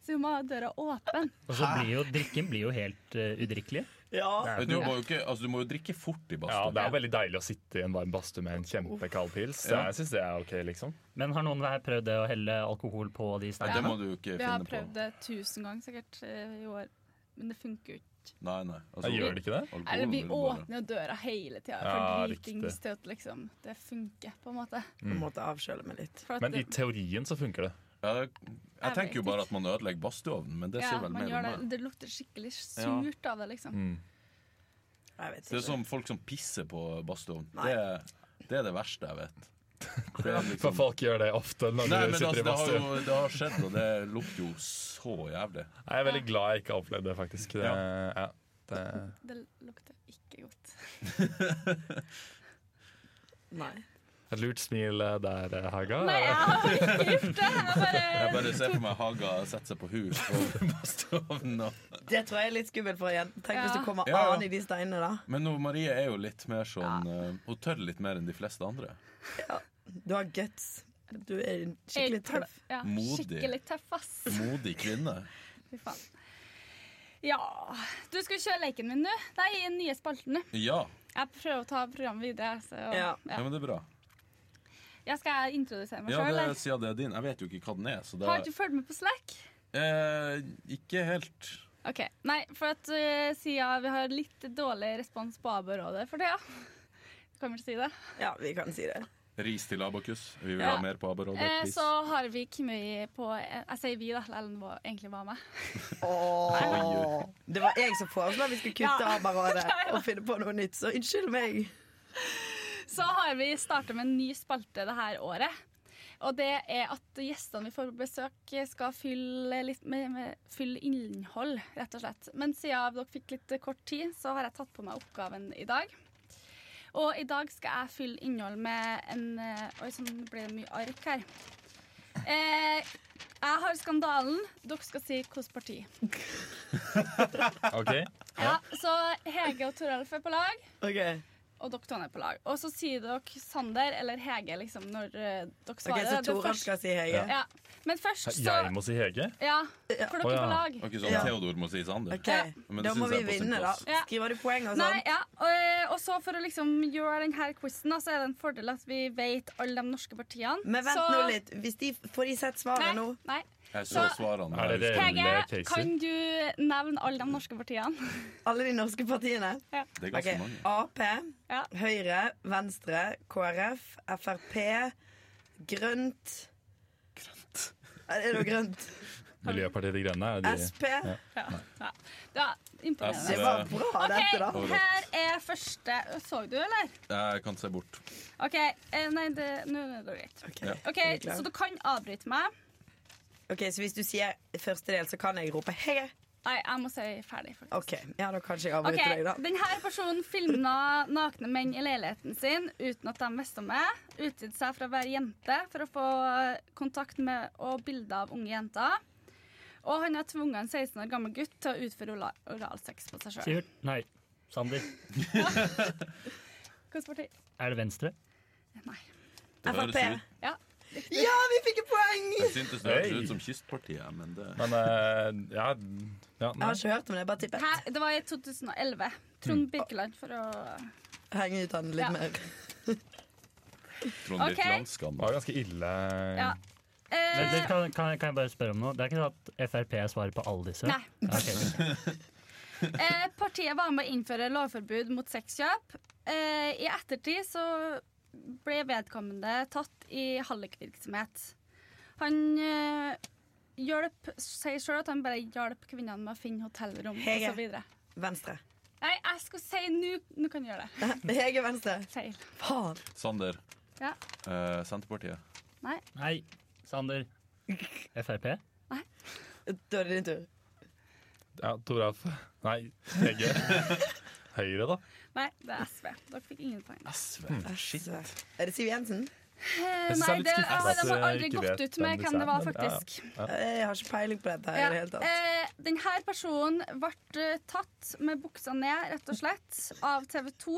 Speaker 4: Så hun må ha døra åpen.
Speaker 1: Og så blir jo drikken blir jo helt eh, udrikkelig.
Speaker 3: Ja.
Speaker 1: Det er
Speaker 2: Men
Speaker 1: jo
Speaker 2: Du
Speaker 1: ikke noe.
Speaker 2: må jo ikke, altså, du må jo drikke fort
Speaker 6: Ja,
Speaker 2: i badstue.
Speaker 6: Det er jo veldig deilig å sitte i en varm badstue med en kjempekald pils. Så
Speaker 2: Ja.
Speaker 6: jeg syns det er ok, liksom.
Speaker 1: Men har noen her prøvd det å helle alkohol på
Speaker 2: Nei,
Speaker 1: de
Speaker 2: det
Speaker 1: steinene?
Speaker 2: må du jo ikke
Speaker 4: Vi har
Speaker 2: finne på.
Speaker 4: prøvd det tusen ganger sikkert eh, i år, men det funker jo ikke.
Speaker 2: Nei, nei. Altså,
Speaker 6: Jeg gjør det ikke det?
Speaker 2: alkoholen
Speaker 4: Eller vi
Speaker 2: vil bare-
Speaker 4: åpner jo døra hele tida
Speaker 6: Ja,
Speaker 4: for dritings
Speaker 6: riktig.
Speaker 4: til at liksom, det funker, på en måte.
Speaker 2: Mm.
Speaker 3: Jeg måtte avkjøle meg litt.
Speaker 4: For at
Speaker 6: Men i
Speaker 4: det-
Speaker 6: teorien så funker det.
Speaker 2: Ja, det- jeg
Speaker 4: Jeg
Speaker 2: tenker jo
Speaker 4: vet
Speaker 2: bare at man ødelegger badstueovnen, men det sier
Speaker 4: ja,
Speaker 2: vel
Speaker 4: man
Speaker 2: mer
Speaker 4: gjør
Speaker 2: om
Speaker 4: det.
Speaker 2: meg.
Speaker 4: det lukter skikkelig surt av det, liksom.
Speaker 6: Mm.
Speaker 3: Jeg vet
Speaker 2: Det er
Speaker 3: ikke.
Speaker 2: som folk som pisser på badstueovn.
Speaker 3: Nei.
Speaker 2: Det, er- det er det verste jeg *laughs* vet. Det er
Speaker 6: For
Speaker 2: liksom...
Speaker 6: folk gjør det ofte når
Speaker 2: Nei,
Speaker 6: du
Speaker 2: men
Speaker 6: sitter
Speaker 2: altså,
Speaker 6: i
Speaker 2: det har
Speaker 6: badstue.
Speaker 2: jo det har skjedd, og det lukter jo så jævlig.
Speaker 6: Jeg er veldig glad jeg ikke har opplevd det, faktisk. Det, ja. det,
Speaker 4: Det lukter ikke godt.
Speaker 3: Nei.
Speaker 6: et lurt smil eh, der, eh, Haga.
Speaker 4: Nei, jeg har ikke gjort det! Jeg
Speaker 2: Jeg
Speaker 4: bare
Speaker 2: bare ser for meg Haga sette seg på huk
Speaker 6: *laughs*
Speaker 2: og badstueovnen og
Speaker 3: Det tror jeg er litt skummelt for en jente. Tenk hvis
Speaker 4: Ja.
Speaker 3: du kommer
Speaker 2: Ja, ja.
Speaker 3: an i de steinene, da.
Speaker 2: Men nå, Marie er jo litt mer sånn eh, Hun tør litt mer enn de fleste andre.
Speaker 3: Du har guts. Du er en skikkelig tøff.
Speaker 4: Ja,
Speaker 2: Modig.
Speaker 4: skikkelig tøff, ass.
Speaker 2: Modig kvinne.
Speaker 4: Fy faen. Ja Du skal kjøre leken min nå. Nei, i den nye spalten nå.
Speaker 2: Ja.
Speaker 4: Jeg prøver å ta programmet videre. Så,
Speaker 3: Ja.
Speaker 2: ja,
Speaker 4: ja.
Speaker 2: men det er bra.
Speaker 4: Jeg skal introdusere meg
Speaker 2: Ja,
Speaker 4: sjøl,
Speaker 2: det,
Speaker 4: eller?
Speaker 2: siden det er din. Jeg vet jo ikke hva den er, så det
Speaker 4: Har du fulgt med på Slack?
Speaker 2: eh, Ikke helt.
Speaker 4: Ok, Nei, for at eh, siden vi har litt dårlig respons på ABO-rådet for tida Du kan vel si det?
Speaker 3: Ja, vi kan si det.
Speaker 2: Ris til Abakus. Vi vil
Speaker 4: Ja.
Speaker 2: ha mer på Abarådet.
Speaker 4: Eh,
Speaker 2: please.
Speaker 4: så har vi Kimøy på eh, Jeg sier vi, da. Ellen var egentlig var med.
Speaker 3: Åh. Det var jeg som foreslo at vi skulle kutte
Speaker 4: *laughs* Ja.
Speaker 3: av Barådet og finne på noe nytt, så unnskyld meg.
Speaker 4: Så har vi starta med en ny spalte det her året. Og det er at gjestene vi får på besøk, skal fylle, litt med, med, fylle innhold, rett og slett. Men siden dere fikk litt kort tid, så har jeg tatt på meg oppgaven i dag. Og i dag skal jeg fylle innhold med en eh, Oi, sånn ble det mye ark her. Eh, jeg har skandalen. Dere skal si hvilket parti.
Speaker 6: Ok.
Speaker 4: Ja, så Hege og Toralf er på lag.
Speaker 3: Ok,
Speaker 4: og dere to er på lag. Og så sier dere Sander eller Hege liksom, når eh, dere
Speaker 3: Ok,
Speaker 4: svarer.
Speaker 3: Så
Speaker 4: Det
Speaker 3: Tora
Speaker 4: først-
Speaker 3: skal si Hege.
Speaker 4: ja. Men først så
Speaker 6: Jeg må si Hege.
Speaker 4: Ja, for dere
Speaker 6: Å,
Speaker 4: er
Speaker 6: ja.
Speaker 4: på lag.
Speaker 2: Ok, sånn
Speaker 3: Ja.
Speaker 2: Theodor må si Sander.
Speaker 3: Ok,
Speaker 4: Ja.
Speaker 2: Men det
Speaker 3: Da må
Speaker 2: synes
Speaker 3: vi
Speaker 2: jeg er på sin
Speaker 3: vinne, da.
Speaker 2: plass.
Speaker 4: Ja.
Speaker 3: Skriver du poeng og
Speaker 4: Nei,
Speaker 3: sånn?
Speaker 4: ja. Og, og så for å liksom gjøre denne quizen, så er det en fordel at vi vet alle de norske partiene.
Speaker 3: Men vent
Speaker 4: så,
Speaker 3: nå litt. Hvis de, får de sett svaret
Speaker 4: Nei,
Speaker 3: nå?
Speaker 4: nei.
Speaker 2: Jeg så
Speaker 4: Så-
Speaker 2: svarene.
Speaker 6: Er det
Speaker 2: Jeg husker
Speaker 4: Hege,
Speaker 6: Eller Casey.
Speaker 4: kan du nevne alle de norske partiene? *laughs*
Speaker 3: Alle de norske partiene?
Speaker 2: Det Det er
Speaker 3: Ok,
Speaker 2: ganske mange.
Speaker 3: Ap,
Speaker 4: Ja.
Speaker 3: Høyre, Venstre, KrF, Frp, Grønt Er det noe
Speaker 2: *laughs*
Speaker 3: grønt?
Speaker 6: Miljøpartiet De Grønne er de
Speaker 3: Sp?
Speaker 4: Ja. ja. Det var
Speaker 2: Ja,
Speaker 3: Det
Speaker 4: imponerende.
Speaker 2: så-
Speaker 3: var bra, dette, da.
Speaker 4: OK, her er første Så du, eller?
Speaker 2: Jeg kan se bort.
Speaker 4: OK. eh, Nei, det, nå er det greit.
Speaker 3: Ok,
Speaker 2: Ja.
Speaker 4: OK,
Speaker 3: er vi klar?
Speaker 4: så du kan avbryte meg.
Speaker 3: Ok, Så hvis du sier første del, så kan jeg rope 'Hege'?
Speaker 4: Nei, jeg må si ferdig. faktisk.
Speaker 3: OK. Ja, da kan ikke jeg
Speaker 4: Ok,
Speaker 3: avbryte deg, da.
Speaker 4: Denne personen filma nakne menn i leiligheten sin uten at de visste om det. Utvidet seg fra å være jente for å få kontakt med og bilder av unge jenter. Og han har tvunget en 16 år gammel gutt til å utføre ola- oralsex på seg sjøl.
Speaker 1: Sivert? Nei. Sander?
Speaker 4: Hvilket parti?
Speaker 1: Er det Venstre?
Speaker 4: Nei.
Speaker 2: Det høres
Speaker 3: Frp.
Speaker 2: ut-
Speaker 4: Ja.
Speaker 3: Ja, vi fikk et poeng!
Speaker 2: Jeg syntes det hørtes
Speaker 6: Hey.
Speaker 2: ut som Kystpartiet, men det
Speaker 6: Men eh, ja, ja
Speaker 3: Jeg
Speaker 6: nei.
Speaker 3: har ikke hørt om det, jeg bare tippet.
Speaker 4: Her, det var i 2011. Trond Birkeland for å
Speaker 3: Henge ut han litt
Speaker 4: Ja.
Speaker 3: mer.
Speaker 2: Trond
Speaker 4: Ok.
Speaker 2: Birkeland
Speaker 6: Det var ganske ille.
Speaker 4: Ja.
Speaker 1: Men det
Speaker 4: Eh,
Speaker 1: kan, kan, kan jeg bare spørre om noe? Det er ikke sånn at Frp svarer på alle disse?
Speaker 4: Eh, Nei.
Speaker 1: Ok.
Speaker 4: Eh, partiet var med å innføre lovforbud mot sexkjøp. Eh, I ettertid så ble vedkommende tatt i hallikvirksomhet. Han eh, hjelp, sier sjøl at han bare hjalp kvinnene med å finne hotellrom
Speaker 3: Hege.
Speaker 4: osv. Nei,
Speaker 3: Venstre.
Speaker 4: jeg skulle si nå Nå kan du gjøre det.
Speaker 3: Hege Venstre.
Speaker 4: Feil.
Speaker 3: Faen.
Speaker 2: Sander.
Speaker 4: Ja.
Speaker 2: eh, Senterpartiet.
Speaker 4: Nei.
Speaker 1: Nei. Sander? Frp?
Speaker 3: Da er det din tur.
Speaker 6: Ja, Toralf. Nei, Hege. Høyre, da.
Speaker 4: Nei, det er SV. Dere fikk ingen poeng.
Speaker 2: SV.
Speaker 3: Er det Siv Jensen?
Speaker 4: Eh,
Speaker 6: synes det er
Speaker 4: Nei,
Speaker 6: litt
Speaker 4: det,
Speaker 6: skuffende
Speaker 4: ah, de
Speaker 6: at
Speaker 4: har
Speaker 6: jeg
Speaker 4: aldri
Speaker 6: ikke
Speaker 4: gått
Speaker 6: vet
Speaker 4: ut
Speaker 6: hvem
Speaker 4: med hvem
Speaker 6: disse
Speaker 4: det var,
Speaker 6: er, men ja, ja.
Speaker 4: faktisk.
Speaker 3: Jeg har ikke peiling på dette her i det hele tatt.
Speaker 4: Eh, den her personen ble eh, tatt med buksa ned, rett og slett, av TV 2.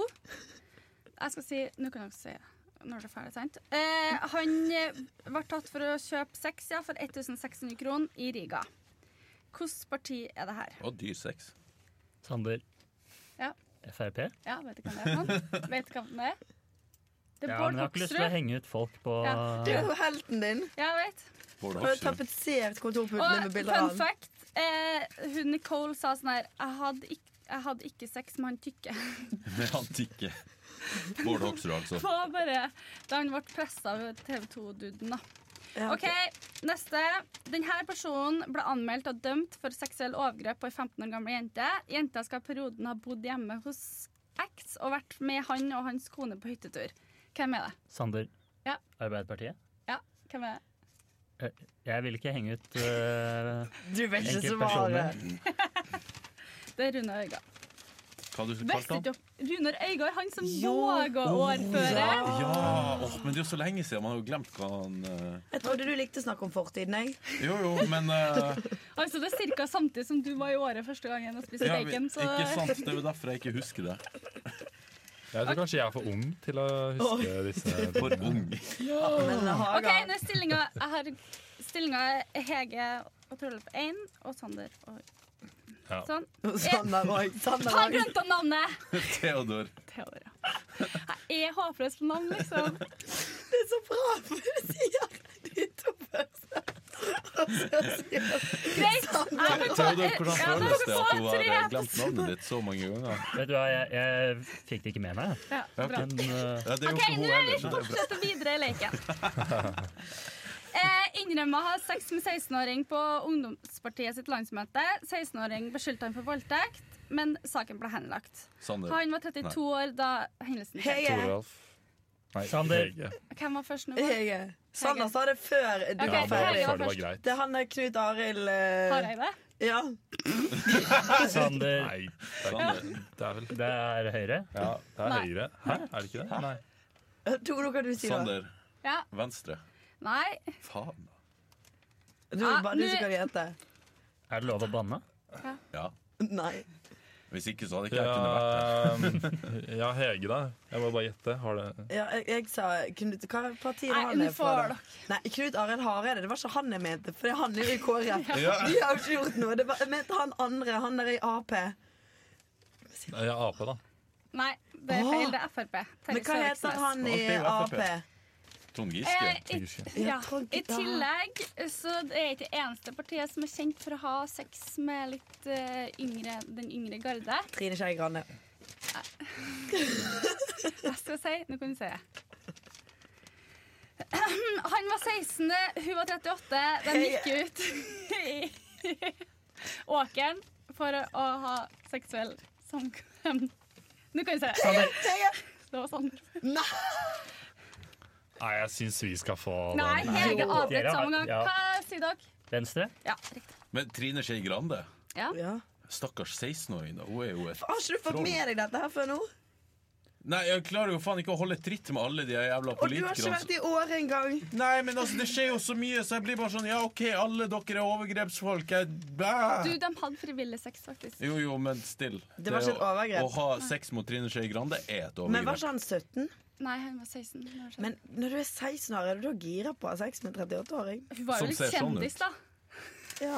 Speaker 4: Jeg skal si Nå kan dere si det. når det er ferdig, sant? Eh, han eh, ble tatt for å kjøpe sex ja, for 1600 kroner i Riga. Hvilket parti er det her?
Speaker 2: Og dyr sex.
Speaker 1: Sander.
Speaker 4: Ja.
Speaker 1: Frp?
Speaker 4: Ja, vet du hvem det
Speaker 3: *laughs*
Speaker 4: er? for noen? Vet du hvem det er? Det er
Speaker 1: Ja, men
Speaker 4: Bård
Speaker 1: jeg har ikke lyst til å
Speaker 4: Hoksrud.
Speaker 1: henge ut folk på
Speaker 4: Ja.
Speaker 3: Det er jo helten din.
Speaker 4: Ja, jeg vet.
Speaker 2: Bård
Speaker 3: Du har
Speaker 2: Hoksrud.
Speaker 3: tapetsert kontorpulten din
Speaker 4: Og
Speaker 3: med bilder
Speaker 4: fun
Speaker 3: av han.
Speaker 4: fact, eh, hun Nicole sa sånn her Jeg hadde ikke, jeg hadde ikke sex med han tykke.
Speaker 2: Med antikke. Bård Hoksrud, altså.
Speaker 4: Det var bare da han ble pressa av TV 2-duden, da.
Speaker 3: Ja,
Speaker 4: OK, neste. Denne personen ble anmeldt og dømt for seksuell overgrep på ei 15 år gammel jente. Jenta skal i perioden ha bodd hjemme hos X og vært med han og hans kone på hyttetur. Hvem er det?
Speaker 1: Sander.
Speaker 4: Ja.
Speaker 1: Arbeiderpartiet.
Speaker 4: Ja, hvem er det?
Speaker 1: Jeg vil ikke henge ut eh,
Speaker 3: Du vet ikke
Speaker 1: enkeltpersoner.
Speaker 3: svaret.
Speaker 4: Det er Runar Øygard.
Speaker 2: Hva du kalte
Speaker 4: Visste
Speaker 2: han?
Speaker 4: ikke dere- Runar Øygard, han som
Speaker 3: Jo.
Speaker 4: våger å overføre.
Speaker 2: Ja, åh, men det er jo så lenge siden. Man har jo glemt hva han eh,
Speaker 3: Jeg trodde du likte å snakke om fortiden, jeg.
Speaker 2: Jo, jo, men
Speaker 4: *laughs*
Speaker 2: eh,
Speaker 4: Altså, det er ca. samtidig som du var i året første gangen og spiste
Speaker 2: ja, vi,
Speaker 4: bacon. Så
Speaker 2: Ikke sant? Det er jo derfor jeg ikke husker det.
Speaker 6: Jeg tror kanskje jeg er for ung til å huske disse
Speaker 2: For ung. *laughs*
Speaker 3: Men
Speaker 4: OK,
Speaker 3: Haga
Speaker 4: nå er stillinga Jeg har stillinga er Hege og Torleif 1 og Sander og
Speaker 6: Ja.
Speaker 4: sånn.
Speaker 3: og Sander òg. Sander
Speaker 4: Har
Speaker 3: òg.
Speaker 4: glemt av navnet!
Speaker 2: Theodor.
Speaker 4: Theodor, ja. Jeg er håpløs på navn, liksom.
Speaker 3: Det er så bra, for du sier de to første. Og så sier
Speaker 4: Greit. Jeg får ta-
Speaker 2: Theodor, hvordan
Speaker 4: Ja,
Speaker 2: føles det
Speaker 4: dere
Speaker 2: at du
Speaker 4: får
Speaker 2: har
Speaker 4: tre.
Speaker 2: eh, glemt navnet ditt så mange ganger?
Speaker 1: Vet du hva, jeg, jeg fikk det ikke med meg.
Speaker 4: Ja, bra.
Speaker 1: Men eh,
Speaker 2: Ja, det er jo
Speaker 4: OK,
Speaker 2: ikke
Speaker 4: nå
Speaker 2: hun
Speaker 4: er vi
Speaker 2: heller. så det er bra.
Speaker 4: fortsetter videre i leken. *laughs* Eh, innrømma å ha sex med 16-åring på ungdomspartiet sitt landsmøte. 16-åring beskyldte han for voldtekt, men saken ble henlagt.
Speaker 2: Sander.
Speaker 4: Han var 32 år da hendelsen skjedde.
Speaker 3: Hege.
Speaker 6: Toralf. Nei,
Speaker 1: Sander.
Speaker 6: Hege.
Speaker 4: Hvem var først nå?
Speaker 3: Hege. Sander sa det før du
Speaker 4: Ok,
Speaker 6: Ja,
Speaker 3: var
Speaker 6: bare
Speaker 3: ferdig.
Speaker 4: Hege.
Speaker 6: før det var greit.
Speaker 3: Det er han der Knut Arild eh,
Speaker 4: Hareide?
Speaker 3: Ja.
Speaker 1: Sander,
Speaker 6: Nei, det er, ikke, det er vel
Speaker 1: det er Høyre.
Speaker 6: Ja, det er
Speaker 4: Nei.
Speaker 6: høyre. Hæ, er det ikke det? Nei.
Speaker 3: Tore, hva du sier du?
Speaker 2: Sander.
Speaker 4: Ja.
Speaker 2: Venstre.
Speaker 4: Nei.
Speaker 2: Faen. da.
Speaker 3: Det er
Speaker 4: Ah,
Speaker 3: bare du som
Speaker 4: nå-
Speaker 3: kan gjette.
Speaker 1: Er det lov å banne?
Speaker 2: Ja.
Speaker 3: Nei.
Speaker 2: Hvis ikke så hadde ikke jeg kunnet vært her.
Speaker 6: Ja, *laughs* ja, Hege, da. Jeg må bare gjette. Har det
Speaker 3: Ja, jeg, jeg sa Knut Hva parti er
Speaker 4: Nei,
Speaker 3: han
Speaker 4: nå
Speaker 3: er fra?
Speaker 4: får
Speaker 3: da?
Speaker 4: dere.
Speaker 3: Nei, Knut Arild Hareide. Det var ikke han jeg mente, for han er jo i
Speaker 4: *laughs*
Speaker 3: KrF.
Speaker 2: Ja.
Speaker 3: De har jo ikke gjort noe. Det var, jeg mente han andre. Han der i Ap.
Speaker 6: Ja, Ap, da.
Speaker 4: Nei, det er feil. Det er Frp. Terje
Speaker 3: Ah, Men hva
Speaker 4: Søviknes.
Speaker 3: heter han i
Speaker 2: Ap og
Speaker 3: Ap?
Speaker 2: Frp. Trond Giske.
Speaker 4: Eh, i, ja. I tillegg så det er ikke det eneste partiet som er kjent for å ha sex med litt eh, yngre, den yngre garde.
Speaker 3: Trine Skei Grande.
Speaker 4: Hva skal jeg si? Nå kan du si det. *clears throat* Han var 16, hun var 38. De gikk ut i åkeren for å ha seksuell samkvem. Nå kan du si det.
Speaker 3: *laughs*
Speaker 4: Det var sånn.
Speaker 6: Nei, jeg syns vi skal få den.
Speaker 4: Nei, Hege avbrøt
Speaker 1: Dere har-
Speaker 4: samme gang.
Speaker 1: ja.
Speaker 4: Hva sier dere?
Speaker 1: Venstre?
Speaker 4: Ja, riktig.
Speaker 2: Men Trine Skei Grande.
Speaker 3: Ja.
Speaker 2: Stakkars 16-åring. da. Hun er jo et
Speaker 3: Har ikke du fått
Speaker 2: Troll.
Speaker 3: med deg dette her før nå?
Speaker 2: Nei, jeg klarer jo faen ikke å holde tritt med alle de jævla
Speaker 3: Og du har ikke
Speaker 2: politikerne. som-
Speaker 3: vært i året engang.
Speaker 2: Nei, men altså, det skjer jo så mye, så jeg blir bare sånn Ja, OK, alle dere er overgrepsfolk. Jeg bæ!
Speaker 4: Du, de hadde frivillig sex, faktisk.
Speaker 2: Jo, jo, men still.
Speaker 3: Det var ikke et
Speaker 2: Å,
Speaker 3: overgrep.
Speaker 2: å ha sex mot Trine Skei Grande er et
Speaker 3: Men
Speaker 2: overgrep.
Speaker 3: var ikke han 17?
Speaker 4: Nei, hun var 16. når det skjedde.
Speaker 3: Men når du er 16 år, er du da gira på å ha sex med en 38-åring?
Speaker 4: Hun var
Speaker 2: Som
Speaker 4: jo litt
Speaker 2: ser sånn
Speaker 4: kjendis, da.
Speaker 3: Ja.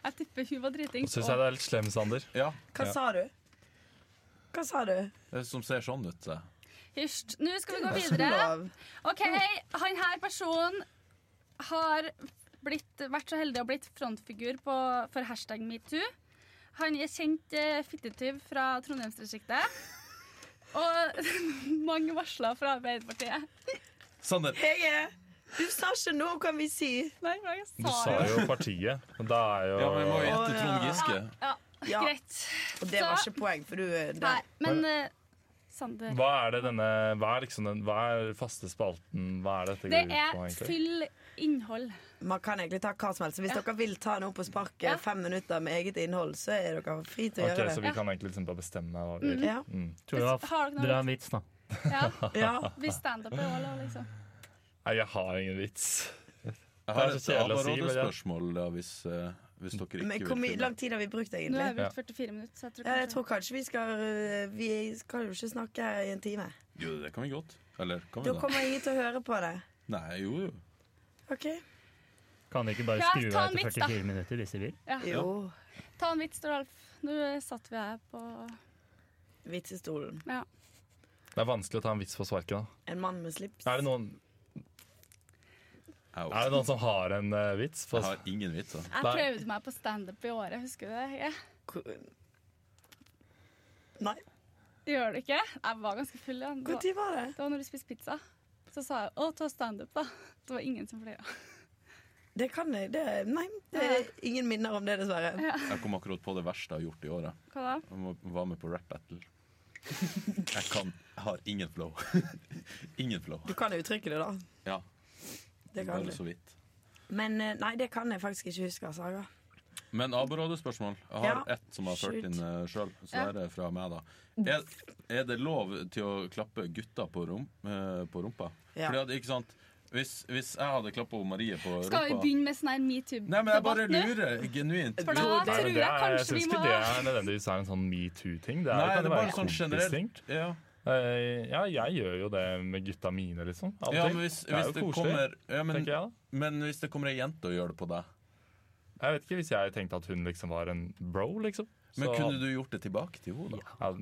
Speaker 4: Jeg tipper hun var driting.
Speaker 6: Nå syns jeg det er litt slem, Sander.
Speaker 2: Ja,
Speaker 3: Hva
Speaker 6: Ja.
Speaker 3: sa du? Hva sa du?
Speaker 2: det er som ser sånn ut. Det.
Speaker 4: Hysj. Nå skal vi gå
Speaker 3: Hva sa du
Speaker 4: videre.
Speaker 3: av?
Speaker 4: OK, han her personen har blitt, vært så heldig å blitt frontfigur på, for hashtag metoo. Han er kjent eh, fittetyv fra Trondheimsdistriktet. Og *laughs* mange varsler fra Arbeiderpartiet.
Speaker 2: Sander.
Speaker 3: Hege, du sa ikke noe, kan vi si?
Speaker 4: Nei, hva jeg
Speaker 6: Du
Speaker 4: sa
Speaker 6: sa jo partiet. Men da er jo
Speaker 2: Ja, men vi må
Speaker 3: jo-
Speaker 2: gjette Trond Giske.
Speaker 4: Ja,
Speaker 3: Ja.
Speaker 4: greit.
Speaker 3: Og det var ikke poeng, for du eh,
Speaker 4: Nei,
Speaker 3: der.
Speaker 4: men eh, Sander
Speaker 6: Hva er det denne Hva er liksom den Hva er faste spalten? Hva er dette
Speaker 4: Det
Speaker 6: går ut
Speaker 4: er
Speaker 6: på, egentlig?
Speaker 4: fyll innhold.
Speaker 3: Man kan egentlig ta hva som helst. Så hvis dere vil ta noe på sparket,
Speaker 4: Ja.
Speaker 3: fem minutter med eget innhold, så er dere fri til å
Speaker 6: Ok,
Speaker 3: gjøre
Speaker 6: så
Speaker 3: det.
Speaker 6: vi kan egentlig liksom bare bestemme hva vi vil.
Speaker 3: Ja.
Speaker 6: Mm.
Speaker 1: Tror jeg har
Speaker 4: Har dere noe?
Speaker 1: dra en vits, da.
Speaker 4: Ja,
Speaker 6: *laughs*
Speaker 3: Ja.
Speaker 4: vi standup er òg lov, liksom.
Speaker 6: Nei, jeg har ingen vits.
Speaker 2: Jeg har
Speaker 6: Det er så kjedelig å
Speaker 2: et
Speaker 6: si, men ja.
Speaker 2: avrådespørsmål da, hvis, eh, hvis dere ikke
Speaker 3: Men
Speaker 2: vil
Speaker 3: hvor mye
Speaker 2: finne.
Speaker 3: lang tid har vi brukt,
Speaker 4: Nå
Speaker 3: egentlig?
Speaker 4: er vi ute 44 minutter, så jeg tror
Speaker 3: Ja, jeg
Speaker 4: kanskje
Speaker 3: tror kanskje vi skal eh, Vi skal jo ikke snakke her i en time.
Speaker 2: Jo, det kan vi godt. Eller kan vi
Speaker 3: Da
Speaker 2: det?
Speaker 3: kommer ingen til å høre på det.
Speaker 2: Nei, jo, jo.
Speaker 3: OK?
Speaker 1: Kan de ikke bare
Speaker 4: Ja,
Speaker 1: skru
Speaker 4: ta
Speaker 1: av
Speaker 4: en
Speaker 1: etter
Speaker 4: vits, da.
Speaker 1: 44 minutter hvis de vil?
Speaker 3: Jo.
Speaker 4: Ta en vits, Rolf. Nå satt vi her på
Speaker 3: Vitsestolen.
Speaker 4: ja.
Speaker 6: Det er vanskelig å ta en vits på sparken. da.
Speaker 3: En mann med slips.
Speaker 6: Er det noen,
Speaker 2: Au.
Speaker 6: er det noen som har en eh, vits? På,
Speaker 2: Jeg har ingen vitser.
Speaker 4: Jeg
Speaker 6: Nei.
Speaker 4: prøvde meg på standup i året, husker du det? Ja.
Speaker 3: Hvor- Nei.
Speaker 4: Gjør du ikke? Jeg var ganske full. Ja. Det,
Speaker 3: Når
Speaker 4: var,
Speaker 3: var det?
Speaker 4: det var når du spiste pizza. Så sa jeg 'å, ta standup', da. Det var ingen som flira.
Speaker 3: Det kan jeg. Det, nei, det er ingen minner om det, dessverre.
Speaker 2: Jeg kom akkurat på det verste jeg har gjort i året.
Speaker 4: Hva da?
Speaker 2: Jeg må- var med på rap battle. Jeg kan Jeg har ingen flow. *laughs* Ingen flow.
Speaker 3: Du kan uttrykke det, da.
Speaker 2: Ja,
Speaker 3: Det kan
Speaker 2: bare
Speaker 3: du.
Speaker 2: så vidt.
Speaker 3: Men eh, nei, det kan jeg faktisk ikke huske, altså. Haga.
Speaker 2: Men aborade-spørsmål. Jeg har
Speaker 3: Ja.
Speaker 2: ett som jeg har ført
Speaker 3: Shoot.
Speaker 2: inn sjøl. Så
Speaker 4: Ja.
Speaker 2: er det fra meg, da. Er, er det lov til å klappe gutta på, rom, eh, på rumpa?
Speaker 3: Ja.
Speaker 2: Fordi at, ikke sant Hvis, hvis jeg hadde klappa Marie på rumpa
Speaker 4: Skal vi begynne med sånn her
Speaker 2: Nei, men jeg bare
Speaker 4: metoo-debatt nå?
Speaker 2: lurer genuint.
Speaker 4: For da
Speaker 6: Nei,
Speaker 4: tror
Speaker 6: men
Speaker 4: jeg
Speaker 6: det er, jeg
Speaker 4: kanskje vi
Speaker 6: syns
Speaker 4: må
Speaker 6: ikke det er nødvendigvis er en sånn metoo-ting. Det, er-
Speaker 2: Nei,
Speaker 6: kan
Speaker 2: det er
Speaker 6: jo være
Speaker 2: bare sånn
Speaker 6: kompisting.
Speaker 2: generelt. Ja.
Speaker 6: Eh, Ja, jeg gjør jo det med gutta mine, liksom. Av og
Speaker 2: Ja,
Speaker 6: til.
Speaker 2: men hvis,
Speaker 6: det er
Speaker 2: hvis
Speaker 6: jo
Speaker 2: det
Speaker 6: koselig,
Speaker 2: kommer ja, men,
Speaker 6: tenker jeg. da.
Speaker 2: men hvis det kommer ei jente og gjør det på deg,
Speaker 6: Jeg vet ikke hvis jeg tenkte at hun liksom var en bro, liksom.
Speaker 2: men
Speaker 6: Så-
Speaker 2: kunne du gjort det tilbake til henne, da?
Speaker 6: Ja,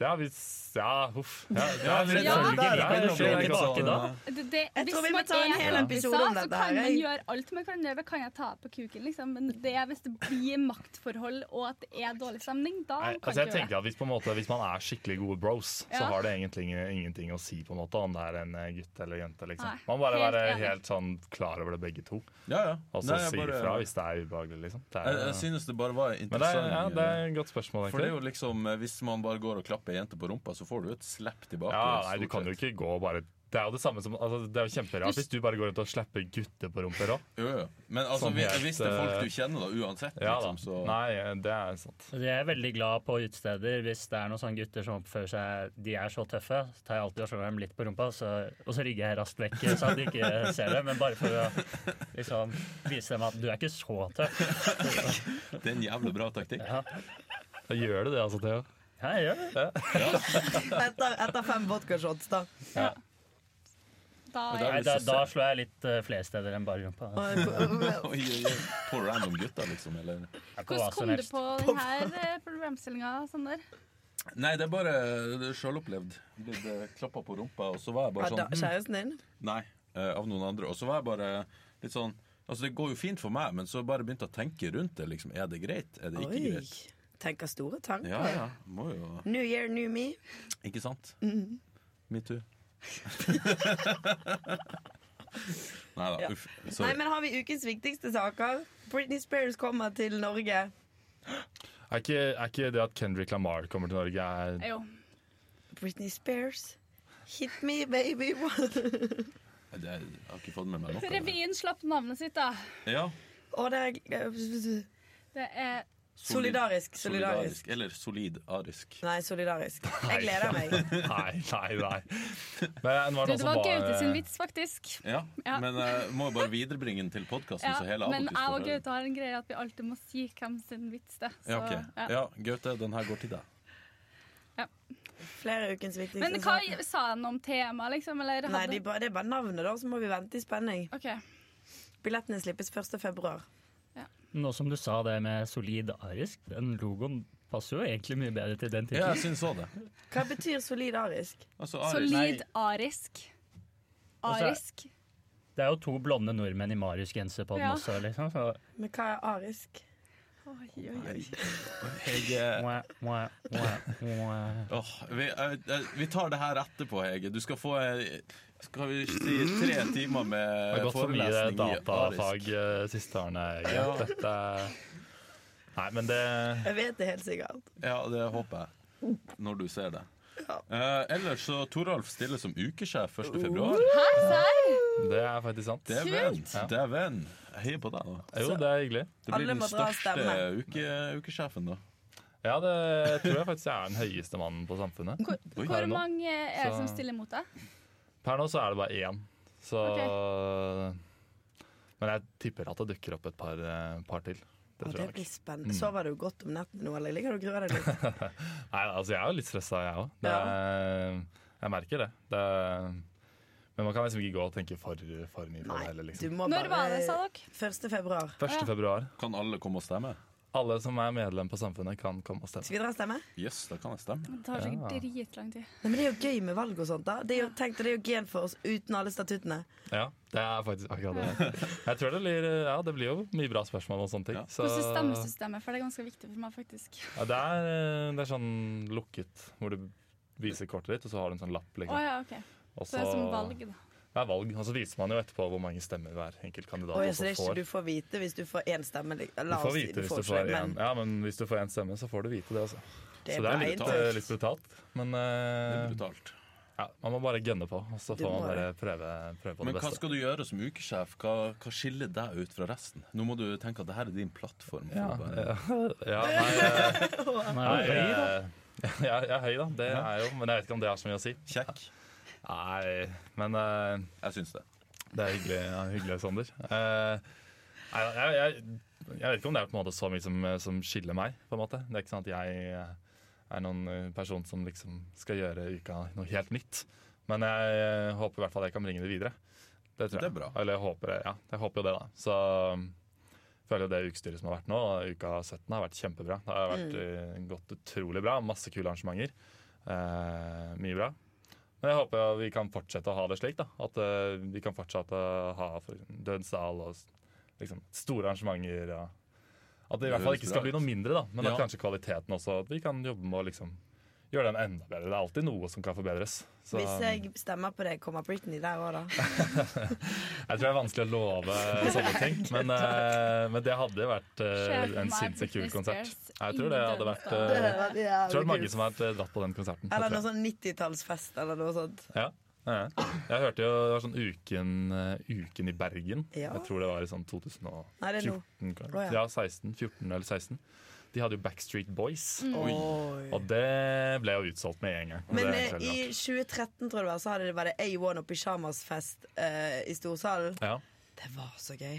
Speaker 6: ja, hvis Ja, huff. Ja, ja,
Speaker 2: men- der
Speaker 4: Ja,
Speaker 2: er
Speaker 1: kan du
Speaker 2: jo
Speaker 1: slå
Speaker 2: ikke
Speaker 1: tilbake
Speaker 2: sånn,
Speaker 1: da.
Speaker 2: eh,
Speaker 4: Det, det,
Speaker 3: Jeg
Speaker 4: hvis
Speaker 3: tror vi må
Speaker 4: man
Speaker 3: ta en
Speaker 4: er
Speaker 3: hel episode om
Speaker 4: kompisa,
Speaker 3: dette
Speaker 4: Så kan
Speaker 3: her,
Speaker 4: man
Speaker 3: jeg.
Speaker 4: gjøre alt man kan gjøre. Kan jeg ta på kuken, liksom? Men det er hvis det blir maktforhold og at det er dårlig stemning, da
Speaker 6: Nei, altså jeg
Speaker 4: kan ikke gjøre det.
Speaker 6: tenker at hvis, på en måte, hvis man er skikkelig gode bros, så
Speaker 4: Ja.
Speaker 6: har det egentlig ingen- ingenting å si på en måte om det er en eh, gutt eller jente.
Speaker 4: Nei,
Speaker 6: Liksom. Man må bare
Speaker 4: helt
Speaker 6: være
Speaker 4: enig.
Speaker 6: helt sånn klar over det begge to,
Speaker 2: Ja, ja.
Speaker 6: og så
Speaker 2: Nei, jeg
Speaker 6: Altså, si
Speaker 2: bare-
Speaker 6: ifra hvis det er ubehagelig. Liksom. Det
Speaker 2: Jeg,
Speaker 6: er,
Speaker 2: jeg synes det bare var
Speaker 6: men det er,
Speaker 2: interessant.
Speaker 6: ja, det er et godt spørsmål,
Speaker 2: For det er
Speaker 6: egentlig.
Speaker 2: jo liksom, eh, Hvis man bare går og klapper ei jente på rumpa, så får du et slapp tilbake.
Speaker 6: Ja, nei, du
Speaker 2: stort
Speaker 6: kan jo
Speaker 2: sett.
Speaker 6: ikke gå og bare det er jo det samme som, altså, det er jo kjemperart hvis du bare går rundt og slapper gutter på rumper òg.
Speaker 2: Jo, jo. Men altså,
Speaker 6: Sånn
Speaker 2: hvis,
Speaker 6: helt,
Speaker 2: hvis det er folk
Speaker 6: eh,
Speaker 2: du kjenner, da, uansett,
Speaker 6: Ja, da.
Speaker 2: liksom, så
Speaker 6: Nei, eh, det er sant.
Speaker 1: Så Altså, Jeg er veldig glad på utesteder hvis det er noen sånne gutter som oppfører seg De er så tøffe, så tar jeg alltid og slår dem litt på rumpa, så, og så rygger jeg raskt vekk så at de ikke ser det. Men bare for å liksom, vise dem at du er ikke så tøff.
Speaker 2: Det er en jævlig
Speaker 6: *laughs*
Speaker 2: bra taktikk.
Speaker 6: Da gjør du det, altså, Theo.
Speaker 1: Ja, jeg gjør det.
Speaker 3: Etter, etter fem vodkashots, da.
Speaker 4: Da
Speaker 2: Men
Speaker 4: er
Speaker 2: det
Speaker 1: Nei, da, da slår jeg litt eh, flere steder enn bare rumpa.
Speaker 3: Og, og,
Speaker 2: Oi,
Speaker 3: og,
Speaker 2: oi, oi. På random gutter, liksom? Eller?
Speaker 1: Jeg er på hva
Speaker 4: Hvordan
Speaker 1: som
Speaker 4: kom du
Speaker 1: helst.
Speaker 4: på denne programstillinga, Sander?
Speaker 2: Nei, det er bare det er sjølopplevd. Blitt eh, klappa på rumpa, og så var jeg bare
Speaker 3: og, da,
Speaker 2: sånn hm,
Speaker 3: kjæresten din?
Speaker 2: Nei, eh, av noen andre. Og så var jeg bare litt sånn Altså, det går jo fint for meg, men så bare begynte jeg å tenke rundt det. liksom, Er det greit? Er det ikke
Speaker 3: Oi.
Speaker 2: greit?
Speaker 3: Tenker store tanker.
Speaker 2: Ja, ja. Må jo
Speaker 3: New year, new me.
Speaker 2: Ikke sant?
Speaker 4: Mm.
Speaker 2: Me
Speaker 4: *laughs*
Speaker 2: too. Nei da,
Speaker 3: Ja.
Speaker 2: uff.
Speaker 3: Nei,
Speaker 2: Sorry.
Speaker 3: men har vi ukens viktigste saker? Britney Spears kommer til Norge.
Speaker 6: Er ikke, er ikke det at Kendrick Lamar kommer til Norge, er
Speaker 4: Jo.
Speaker 3: Britney Spears. Hit me, baby. *laughs*
Speaker 2: Det- Jeg har ikke fått med meg noe. av det.
Speaker 4: Revyen slapp navnet sitt, da.
Speaker 2: Ja.
Speaker 3: Og det er
Speaker 4: Det er
Speaker 2: solid-
Speaker 3: Solidarisk. Solidarisk.
Speaker 2: Eller solidarisk.
Speaker 6: *laughs*
Speaker 3: Nei, solidarisk. Jeg gleder meg.
Speaker 6: *laughs* Nei, nei, nei. Men var det, altså noen
Speaker 4: Du, det
Speaker 6: som
Speaker 4: var
Speaker 6: var
Speaker 4: Gaute sin vits, faktisk.
Speaker 2: Ja,
Speaker 4: Ja.
Speaker 2: men jeg må jo bare viderebringe den til podkasten,
Speaker 4: Ja,
Speaker 2: så hele
Speaker 4: men
Speaker 2: Abotis
Speaker 4: jeg
Speaker 2: får
Speaker 4: og
Speaker 2: høre.
Speaker 4: Gaute har en greie at vi alltid må si hvem sin vits det er.
Speaker 2: Ja, ok.
Speaker 4: ja.
Speaker 2: ja, Gaute, den her går til deg.
Speaker 3: Flere ukens viktigste
Speaker 4: Men hva
Speaker 3: saker.
Speaker 4: sa han om temaet, liksom? Eller hadde...
Speaker 3: Nei, de, ba- det er bare navnet, da, så må vi vente i spenning.
Speaker 4: OK.
Speaker 3: Billettene slippes 1. februar.
Speaker 1: Nå som du sa det med solid arisk, den logoen passer jo egentlig mye bedre til den
Speaker 2: Ja,
Speaker 1: tittelen.
Speaker 2: jeg syns òg det.
Speaker 3: Hva betyr solidarisk?
Speaker 2: Altså, Aris-
Speaker 4: Solid arisk.
Speaker 1: Altså,
Speaker 4: Arisk.
Speaker 1: Det er jo to blonde nordmenn i Marius-genser på den
Speaker 4: Ja.
Speaker 1: også, liksom. Så,
Speaker 3: Men hva er arisk?
Speaker 4: Oi, oi, oi.
Speaker 2: Jeg, eh,
Speaker 1: mwah, mwah, mwah, mwah.
Speaker 2: åh, vi, eh, eh, vi tar det her etterpå, Hege. Du skal få eh, skal vi si tre
Speaker 6: Det har
Speaker 2: timer med
Speaker 6: gått for mye
Speaker 2: forelesning i arisk.
Speaker 6: datafag eh, siste årene.
Speaker 2: Ja.
Speaker 6: Gaute. Dette er- Nei, men det
Speaker 3: Jeg vet det helt sikkert.
Speaker 2: Ja, det håper jeg. Når du ser det. Eh, ellers så Toralf stiller som ukesjef 1. februar.
Speaker 4: Hæ, serr?
Speaker 6: Det er faktisk sant.
Speaker 2: Det er venn. Det er venn. Jeg heier på deg, da.
Speaker 6: Jo, det er hyggelig.
Speaker 2: Det
Speaker 3: Alle
Speaker 2: blir den
Speaker 3: må dra og
Speaker 2: største
Speaker 3: stemme.
Speaker 2: uke, ukesjefen, da.
Speaker 6: Ja, det tror jeg faktisk jeg er den høyeste mannen på Samfunnet.
Speaker 4: Hvor,
Speaker 2: Oi.
Speaker 4: hvor
Speaker 6: Er det nå?
Speaker 4: mange er det som
Speaker 6: Så-
Speaker 4: stiller mot deg?
Speaker 6: Per nå så er det bare én, så Men jeg tipper at det dukker opp et par, eh, par til. Det
Speaker 3: Å,
Speaker 6: tror
Speaker 3: det
Speaker 6: jeg
Speaker 3: blir
Speaker 6: nok. Mm.
Speaker 3: spennende. Sover du godt
Speaker 6: *laughs*
Speaker 3: om natten nå, eller ligger du og gruer deg litt?
Speaker 6: Nei, altså jeg er jo litt stressa, jeg òg.
Speaker 3: Ja.
Speaker 6: Jeg merker det. det men man kan liksom ikke gå og tenke for, for mye på det heller,
Speaker 3: du
Speaker 6: liksom.
Speaker 3: må
Speaker 4: Når var det, sa
Speaker 3: bare
Speaker 4: dere?
Speaker 3: 1. februar.
Speaker 6: 1. februar.
Speaker 2: Kan alle komme og stemme?
Speaker 6: Alle som er medlem på Samfunnet, kan komme og stemme.
Speaker 3: Skal vi dra og stemme?
Speaker 2: Yes, da kan jeg stemme.
Speaker 4: Det tar sikkert
Speaker 6: Ja.
Speaker 4: dritlang tid.
Speaker 3: Nei, men Det er jo gøy med valg og sånt. da Det er jo, tenk deg, det er jo gen for oss uten alle statuttene.
Speaker 6: Ja, det er faktisk
Speaker 4: *laughs*
Speaker 6: akkurat det. Jeg tror det blir, ja, det blir jo mye bra spørsmål og sånne ting.
Speaker 2: Ja.
Speaker 6: Så,
Speaker 4: Hvordan stemmesystemet, for det er ganske viktig for meg, faktisk.
Speaker 6: ja, det, er, eh, det er sånn lukket, hvor du viser kortet ditt, og så har du en sånn lapp.
Speaker 4: Å
Speaker 6: liksom.
Speaker 4: ja, OK.
Speaker 6: Og
Speaker 4: Så det er som valg, da.
Speaker 6: Det er valg, og så viser man jo etterpå hvor mange stemmer hver enkelt kandidat
Speaker 3: Oi, så
Speaker 6: også
Speaker 3: det er ikke
Speaker 6: får.
Speaker 3: du får vite hvis du får én stemme. lik-
Speaker 6: Du
Speaker 3: La
Speaker 6: får
Speaker 3: oss si
Speaker 6: vite hvis du
Speaker 3: ikke
Speaker 6: får
Speaker 3: det,
Speaker 6: én. Ja, men hvis du får én stemme, så får du vite det, altså.
Speaker 3: men
Speaker 6: Så det er
Speaker 2: veldig
Speaker 6: litt,
Speaker 2: brutalt.
Speaker 6: eh, litt brutalt. Men
Speaker 2: Det
Speaker 6: eh,
Speaker 2: er brutalt.
Speaker 6: ja, man må bare gønne på, og så
Speaker 3: Du
Speaker 6: får man
Speaker 3: må
Speaker 6: bare prøve, prøve på det
Speaker 2: Men hva
Speaker 6: beste.
Speaker 2: skal du gjøre som ukesjef? Hva, hva skiller deg ut fra resten? Nå må du tenke at det her er din plattform. for å bare-
Speaker 6: Ja, ja *laughs* nei, eh, nei
Speaker 3: *laughs*
Speaker 1: Han er jo høy, da.
Speaker 6: eh, *laughs* jeg, jeg er høy, da. Det er jeg jo, men jeg vet ikke om det har så mye å si.
Speaker 2: Kjekk.
Speaker 6: Nei, men eh,
Speaker 2: Jeg syns det.
Speaker 6: det er hyggelig, ja, hyggelig Sander. Eh, nei, jeg, jeg, jeg vet ikke om det er på en måte så mye som, som skiller meg. på en måte. Det er ikke sånn at jeg er noen eh, person som liksom skal gjøre uka noe helt nytt. Men jeg eh, håper i hvert fall jeg kan bringe det videre. Det tror jeg.
Speaker 2: Det er bra.
Speaker 6: Eller jeg håper, det, ja, jeg håper jo det, da. Så um, føler jeg det ukestyret som har vært nå, uka 17, har vært kjempebra. Det har vært
Speaker 2: Mm.
Speaker 6: eh, gått utrolig bra. Masse kule arrangementer. Eh, mye bra. Men jeg håper jo vi kan fortsette å ha det slik. da At eh, vi kan fortsette å ha for Dødsdal og s- liksom, store arrangementer. Og at det i
Speaker 2: Det
Speaker 6: hvert fall
Speaker 2: høres
Speaker 6: ikke
Speaker 2: bra
Speaker 6: skal bli
Speaker 2: ut.
Speaker 6: noe mindre, da men at
Speaker 2: Ja.
Speaker 6: kanskje kvaliteten også. At vi kan jobbe med å liksom gjøre den enda bedre. Det er alltid noe som kan forbedres. Så um,
Speaker 3: Hvis
Speaker 6: jeg...
Speaker 3: jeg stemmer på deg, kommer Britney der òg, da?
Speaker 6: tror det er vanskelig å love sånne
Speaker 4: *laughs*
Speaker 6: ting. Men, eh, men det hadde vært eh,
Speaker 4: Sjef
Speaker 6: en
Speaker 4: meg,
Speaker 6: sinnssykt kul
Speaker 4: Britney
Speaker 6: konsert.
Speaker 4: Spears,
Speaker 6: Jeg tror det hadde vært eh,
Speaker 3: *laughs* Det hadde
Speaker 6: Jeg tror
Speaker 3: vært
Speaker 6: det er
Speaker 3: jævlig
Speaker 6: mange
Speaker 3: kult.
Speaker 6: som har vært eh, dratt på den konserten.
Speaker 3: Eller
Speaker 6: Jeg,
Speaker 3: noe sånn 90-tallsfest eller noe sånt.
Speaker 6: ja. Ja, ja. jeg hørte jo det var sånn Uken, eh, uken i Bergen.
Speaker 3: Ja.
Speaker 6: Jeg tror det var i sånn 2014.
Speaker 3: Nei, det er nå. Å, ja.
Speaker 6: ja, 16, 14 eller 16. De hadde jo Backstreet Boys.
Speaker 3: Oi.
Speaker 6: Og det ble jo utsolgt med en gang. og
Speaker 3: Mm. Men
Speaker 6: det er
Speaker 3: eh,
Speaker 6: helt
Speaker 3: i
Speaker 6: rart.
Speaker 3: 2013 tror jeg det var, så hadde det vært A1 og pyjamasfest eh, i Storsalen.
Speaker 6: ja.
Speaker 3: Det var så gøy.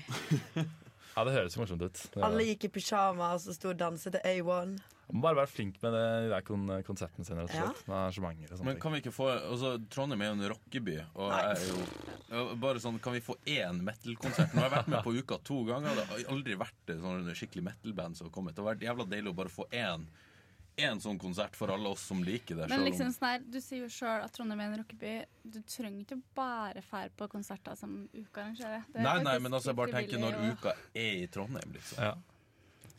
Speaker 6: ja, det høres jo morsomt ut. Det
Speaker 3: Alle gikk i pysjamas og sto og danset til A1.
Speaker 6: Man må bare være flink med det, de der kon konseptene sine. rett og
Speaker 3: Ja.
Speaker 6: slett. Med arrangementer og sånne
Speaker 2: Men
Speaker 6: ting.
Speaker 2: kan vi ikke få altså, Trondheim er jo en rockeby, og jeg er jo ja, Bare sånn, kan vi få én metal-konsert? Nå har jeg vært med på Uka to ganger. Det har aldri vært et sånn skikkelig metal-band som har kommet. Det har vært jævla deilig å bare få én, én sånn konsert for alle oss som liker det.
Speaker 4: Men
Speaker 2: selv om-
Speaker 4: liksom sånn her, du sier jo sjøl at Trondheim er en rockeby. Du trenger ikke bare fære på konserter som Uka arrangerer. Det er
Speaker 2: Nei, nei,
Speaker 4: faktisk
Speaker 2: men altså, jeg bare
Speaker 4: litt
Speaker 2: tenker
Speaker 4: frivillig
Speaker 2: når
Speaker 4: og-
Speaker 2: Uka er i Trondheim, liksom.
Speaker 6: Ja.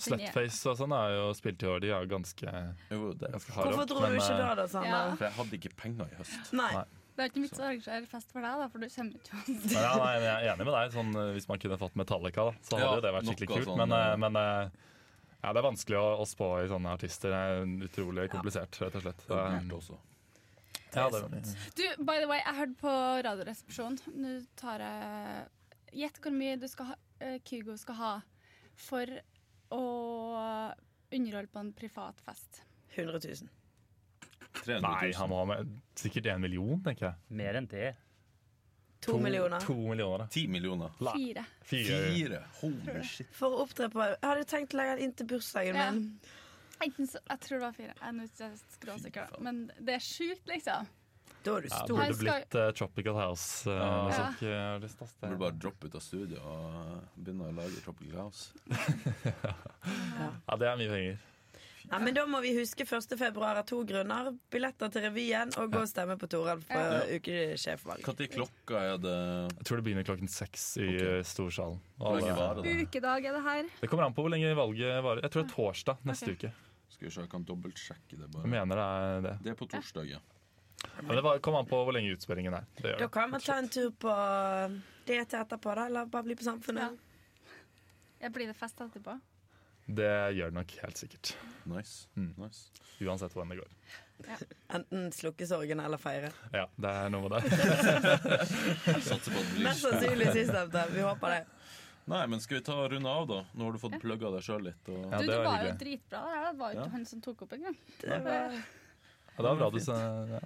Speaker 6: Slutface og sånn er jo spilt i år. De er jo ganske,
Speaker 2: Jo, det er
Speaker 6: ganske harde.
Speaker 3: Hvorfor
Speaker 6: opp,
Speaker 3: dro
Speaker 6: men,
Speaker 3: du ikke da,
Speaker 6: eh,
Speaker 3: da, Sander?
Speaker 4: Ja.
Speaker 2: For jeg hadde ikke penger i høst.
Speaker 3: Nei.
Speaker 6: Nei.
Speaker 4: Det er ikke noe vits å arrangere fest for deg, da, for du kommer ikke uansett.
Speaker 6: men ja, nei, men jeg er enig med deg. Sånn, eh, hvis man kunne fått Metallica, da, så hadde
Speaker 2: Ja,
Speaker 6: jo det vært skikkelig
Speaker 2: noe
Speaker 6: kult.
Speaker 2: sånn,
Speaker 6: men eh,
Speaker 2: eh,
Speaker 6: men eh, ja, det er vanskelig å, å spå i sånne artister. Det er utrolig komplisert, rett og slett. Eh,
Speaker 2: Det var dyrt også.
Speaker 6: Ja, det,
Speaker 4: Du, by the way, jeg hørte på Radioresepsjonen. Nå tar jeg Gjett hvor mye du skal ha, eh, Kygo skal ha for å underholde på en privat fest.
Speaker 3: 100 000.
Speaker 2: 300 000.
Speaker 6: nei, han må ha med sikkert én million, tenker jeg.
Speaker 1: Mer enn det.
Speaker 3: To millioner.
Speaker 6: To millioner, da.
Speaker 2: 10 millioner.
Speaker 6: Nei.
Speaker 4: Fire.
Speaker 6: Fire.
Speaker 2: Fire! Holy shit.
Speaker 3: For å opptre på Jeg hadde tenkt å legge den inn til bursdagen
Speaker 4: Ja.
Speaker 3: min.
Speaker 4: Enten så, jeg tror det var fire. Jeg er nå ikke
Speaker 2: Fy
Speaker 4: skråsikker,
Speaker 2: faen.
Speaker 4: men det er sjukt, liksom.
Speaker 3: Da er
Speaker 6: Ja,
Speaker 3: du
Speaker 6: det
Speaker 3: stor.
Speaker 4: Her
Speaker 6: burde
Speaker 4: skal-
Speaker 6: blitt eh, Tropical House-musikk.
Speaker 2: Jeg burde bare droppe ut av studiet og begynne å lage Tropical House.
Speaker 6: Ja, det er mye penger.
Speaker 3: Nei, men da må vi huske 1. februar av to grunner. Billetter til revyen og gå og stemme på Toralf på
Speaker 2: Ja.
Speaker 3: ukesjefvalg.
Speaker 2: Når klokka er det
Speaker 6: Jeg tror det begynner klokken seks i
Speaker 2: Ok.
Speaker 6: eh, storsalen.
Speaker 2: Hvor lenge
Speaker 6: Alle-
Speaker 2: varer det?
Speaker 4: Ukedag er det her.
Speaker 6: det kommer an på hvor lenge valget varer. Jeg tror det er torsdag neste
Speaker 4: Ok.
Speaker 6: uke.
Speaker 2: Skal vi se, jeg kan dobbeltsjekke det
Speaker 6: Jeg
Speaker 2: bare.
Speaker 6: mener det er det.
Speaker 2: Det er på torsdag, ja.
Speaker 6: Men det var- kommer an på hvor lenge utspørringen er. Det gjør
Speaker 3: Da
Speaker 6: det.
Speaker 3: kan man ta en tur på det til etterpå, da. Eller bare bli på Samfunnet.
Speaker 4: Jeg blir det fest etterpå.
Speaker 6: Det gjør det nok helt sikkert.
Speaker 2: Nice.
Speaker 6: Mm.
Speaker 2: nice.
Speaker 6: Uansett hvordan det går.
Speaker 3: Enten slukke sorgen eller feire.
Speaker 6: Ja, det er noe med det.
Speaker 2: Satser på at det blir
Speaker 3: Mest sannsynlig sistnevnte. Vi håper det.
Speaker 2: Nei, men skal vi ta og runde av, da? Nå har du fått plugga deg sjøl litt. Og...
Speaker 6: Ja,
Speaker 4: du,
Speaker 6: det
Speaker 4: det
Speaker 6: var
Speaker 4: var jo
Speaker 6: hyggelig.
Speaker 4: dritbra. Det her. Det var jo
Speaker 2: Ja.
Speaker 4: ikke han som tok opp engang.
Speaker 3: Det var
Speaker 6: Ja, det var bra du, sa- ja,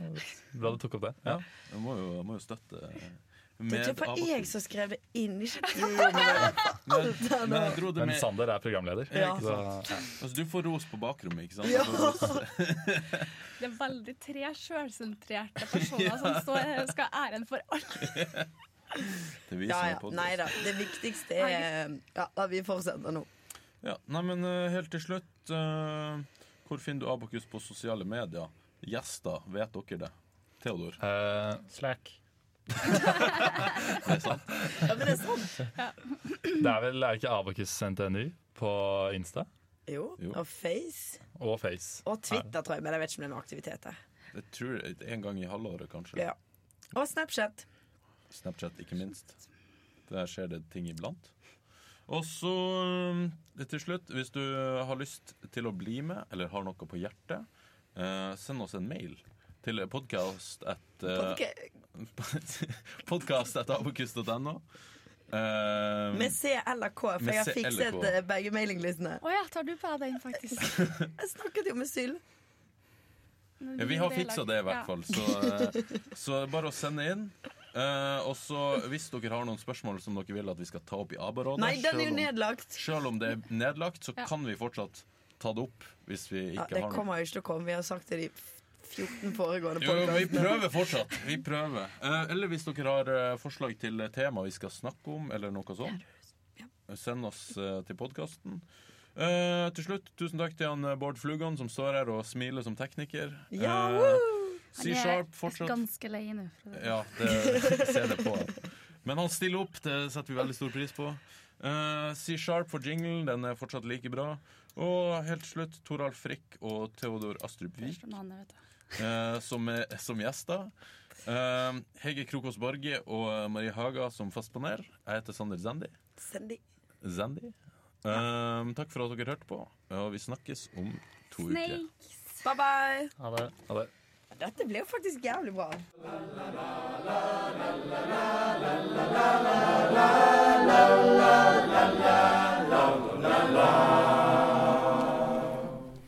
Speaker 6: bra du tok opp det. Ja.
Speaker 2: Jeg må jo, jeg må jo støtte eh,
Speaker 3: Det er
Speaker 2: med
Speaker 3: ikke for
Speaker 2: av-
Speaker 3: jeg som skrev det inn, ikke
Speaker 2: *laughs*
Speaker 3: du.
Speaker 2: Men, men jeg dro det
Speaker 6: Men
Speaker 2: med
Speaker 6: Sander er programleder.
Speaker 3: Ja.
Speaker 6: Så,
Speaker 2: altså, Du får ros på bakrommet, ikke sånn sant?
Speaker 3: Ja.
Speaker 2: Du får ros.
Speaker 4: Det er veldig tre
Speaker 2: *laughs*
Speaker 4: sjølsentrerte personer som står, skal ha æren for alt.
Speaker 2: Det viser
Speaker 3: Ja,
Speaker 2: meg
Speaker 3: ja.
Speaker 2: podcast.
Speaker 3: Nei da. Det viktigste er ja, at vi fortsetter nå.
Speaker 2: Ja, nei, men eh, helt til slutt eh, Hvor finner du Abakus på sosiale medier? Gjester, vet dere det? Theodor,
Speaker 6: eh,
Speaker 1: Slack.
Speaker 2: det er sant?
Speaker 3: Ja, men det er sant.
Speaker 6: det er vel er ikke Abakus NTNU på Insta
Speaker 3: Jo.
Speaker 2: Jo.
Speaker 3: Og Face.
Speaker 6: og Face.
Speaker 3: Og Twitter, tror jeg, men jeg vet ikke om det er noe aktivitet der.
Speaker 2: Jeg tror det er en gang i halvåret, kanskje.
Speaker 3: Ja. Og Snapchat.
Speaker 2: Snapchat, ikke minst. Der skjer det ting iblant. Og så eh, til slutt, hvis du har lyst til å bli med, eller har noe på hjertet, eh, send oss en mail til podcast at eh, *laughs*
Speaker 3: Podca-
Speaker 2: podcast at abakus.no. Eh,
Speaker 3: Med C eller K, for
Speaker 2: Med
Speaker 3: jeg har
Speaker 2: C
Speaker 3: fikset
Speaker 2: eller K.
Speaker 3: eh, begge mailinglistene.
Speaker 4: Å ja, tar du på deg den, faktisk?
Speaker 3: Jeg snakket jo med Syl.
Speaker 2: Ja, vi har fiksa det i hvert fall, så, eh, så det er bare å sende inn. Eh, og så hvis dere har noen spørsmål som dere vil at vi skal ta opp i ABA-rådet
Speaker 3: Nei, den er
Speaker 2: selv
Speaker 3: jo
Speaker 2: om-
Speaker 3: nedlagt.
Speaker 2: Selv om det er nedlagt, så
Speaker 4: Ja.
Speaker 2: kan vi fortsatt ta det opp hvis vi
Speaker 3: Ja,
Speaker 2: ikke
Speaker 3: det
Speaker 2: har noe.
Speaker 3: kommer jo ikke til å komme. Vi har sagt det i de 14 foregående
Speaker 2: Jo, jo, vi
Speaker 3: podkastene.
Speaker 2: prøver fortsatt. Vi prøver. Eh, eller hvis dere har eh, forslag til tema vi skal snakke om, eller noe sånt, send oss eh, til podkasten. Eh, til slutt, tusen takk til han eh, Bård Flugan som står her og smiler som tekniker.
Speaker 3: Ja,
Speaker 2: Eh,
Speaker 3: woo!
Speaker 2: C-sharp fortsatt.
Speaker 4: Ganske lei nå. for det.
Speaker 2: Ja, det ser det på. Men han stiller opp, det setter vi veldig stor pris på. Eh, C-sharp for jingle, den er fortsatt like bra. Og helt til slutt Toralf Frikk og Theodor Astrup Wiik
Speaker 4: Først og annen, vet du.
Speaker 2: eh, som, er- som gjester. Eh, Hege Krokås Borge og Marie Haga som fast panel. Jeg heter Sander Zendi.
Speaker 3: Send de.
Speaker 2: Zendi. Eh, takk for at dere hørte på, og vi snakkes om to uker.
Speaker 4: Snakes.
Speaker 3: Bye bye.
Speaker 1: Ha det.
Speaker 6: Ha det.
Speaker 3: Dette ble jo faktisk jævlig bra.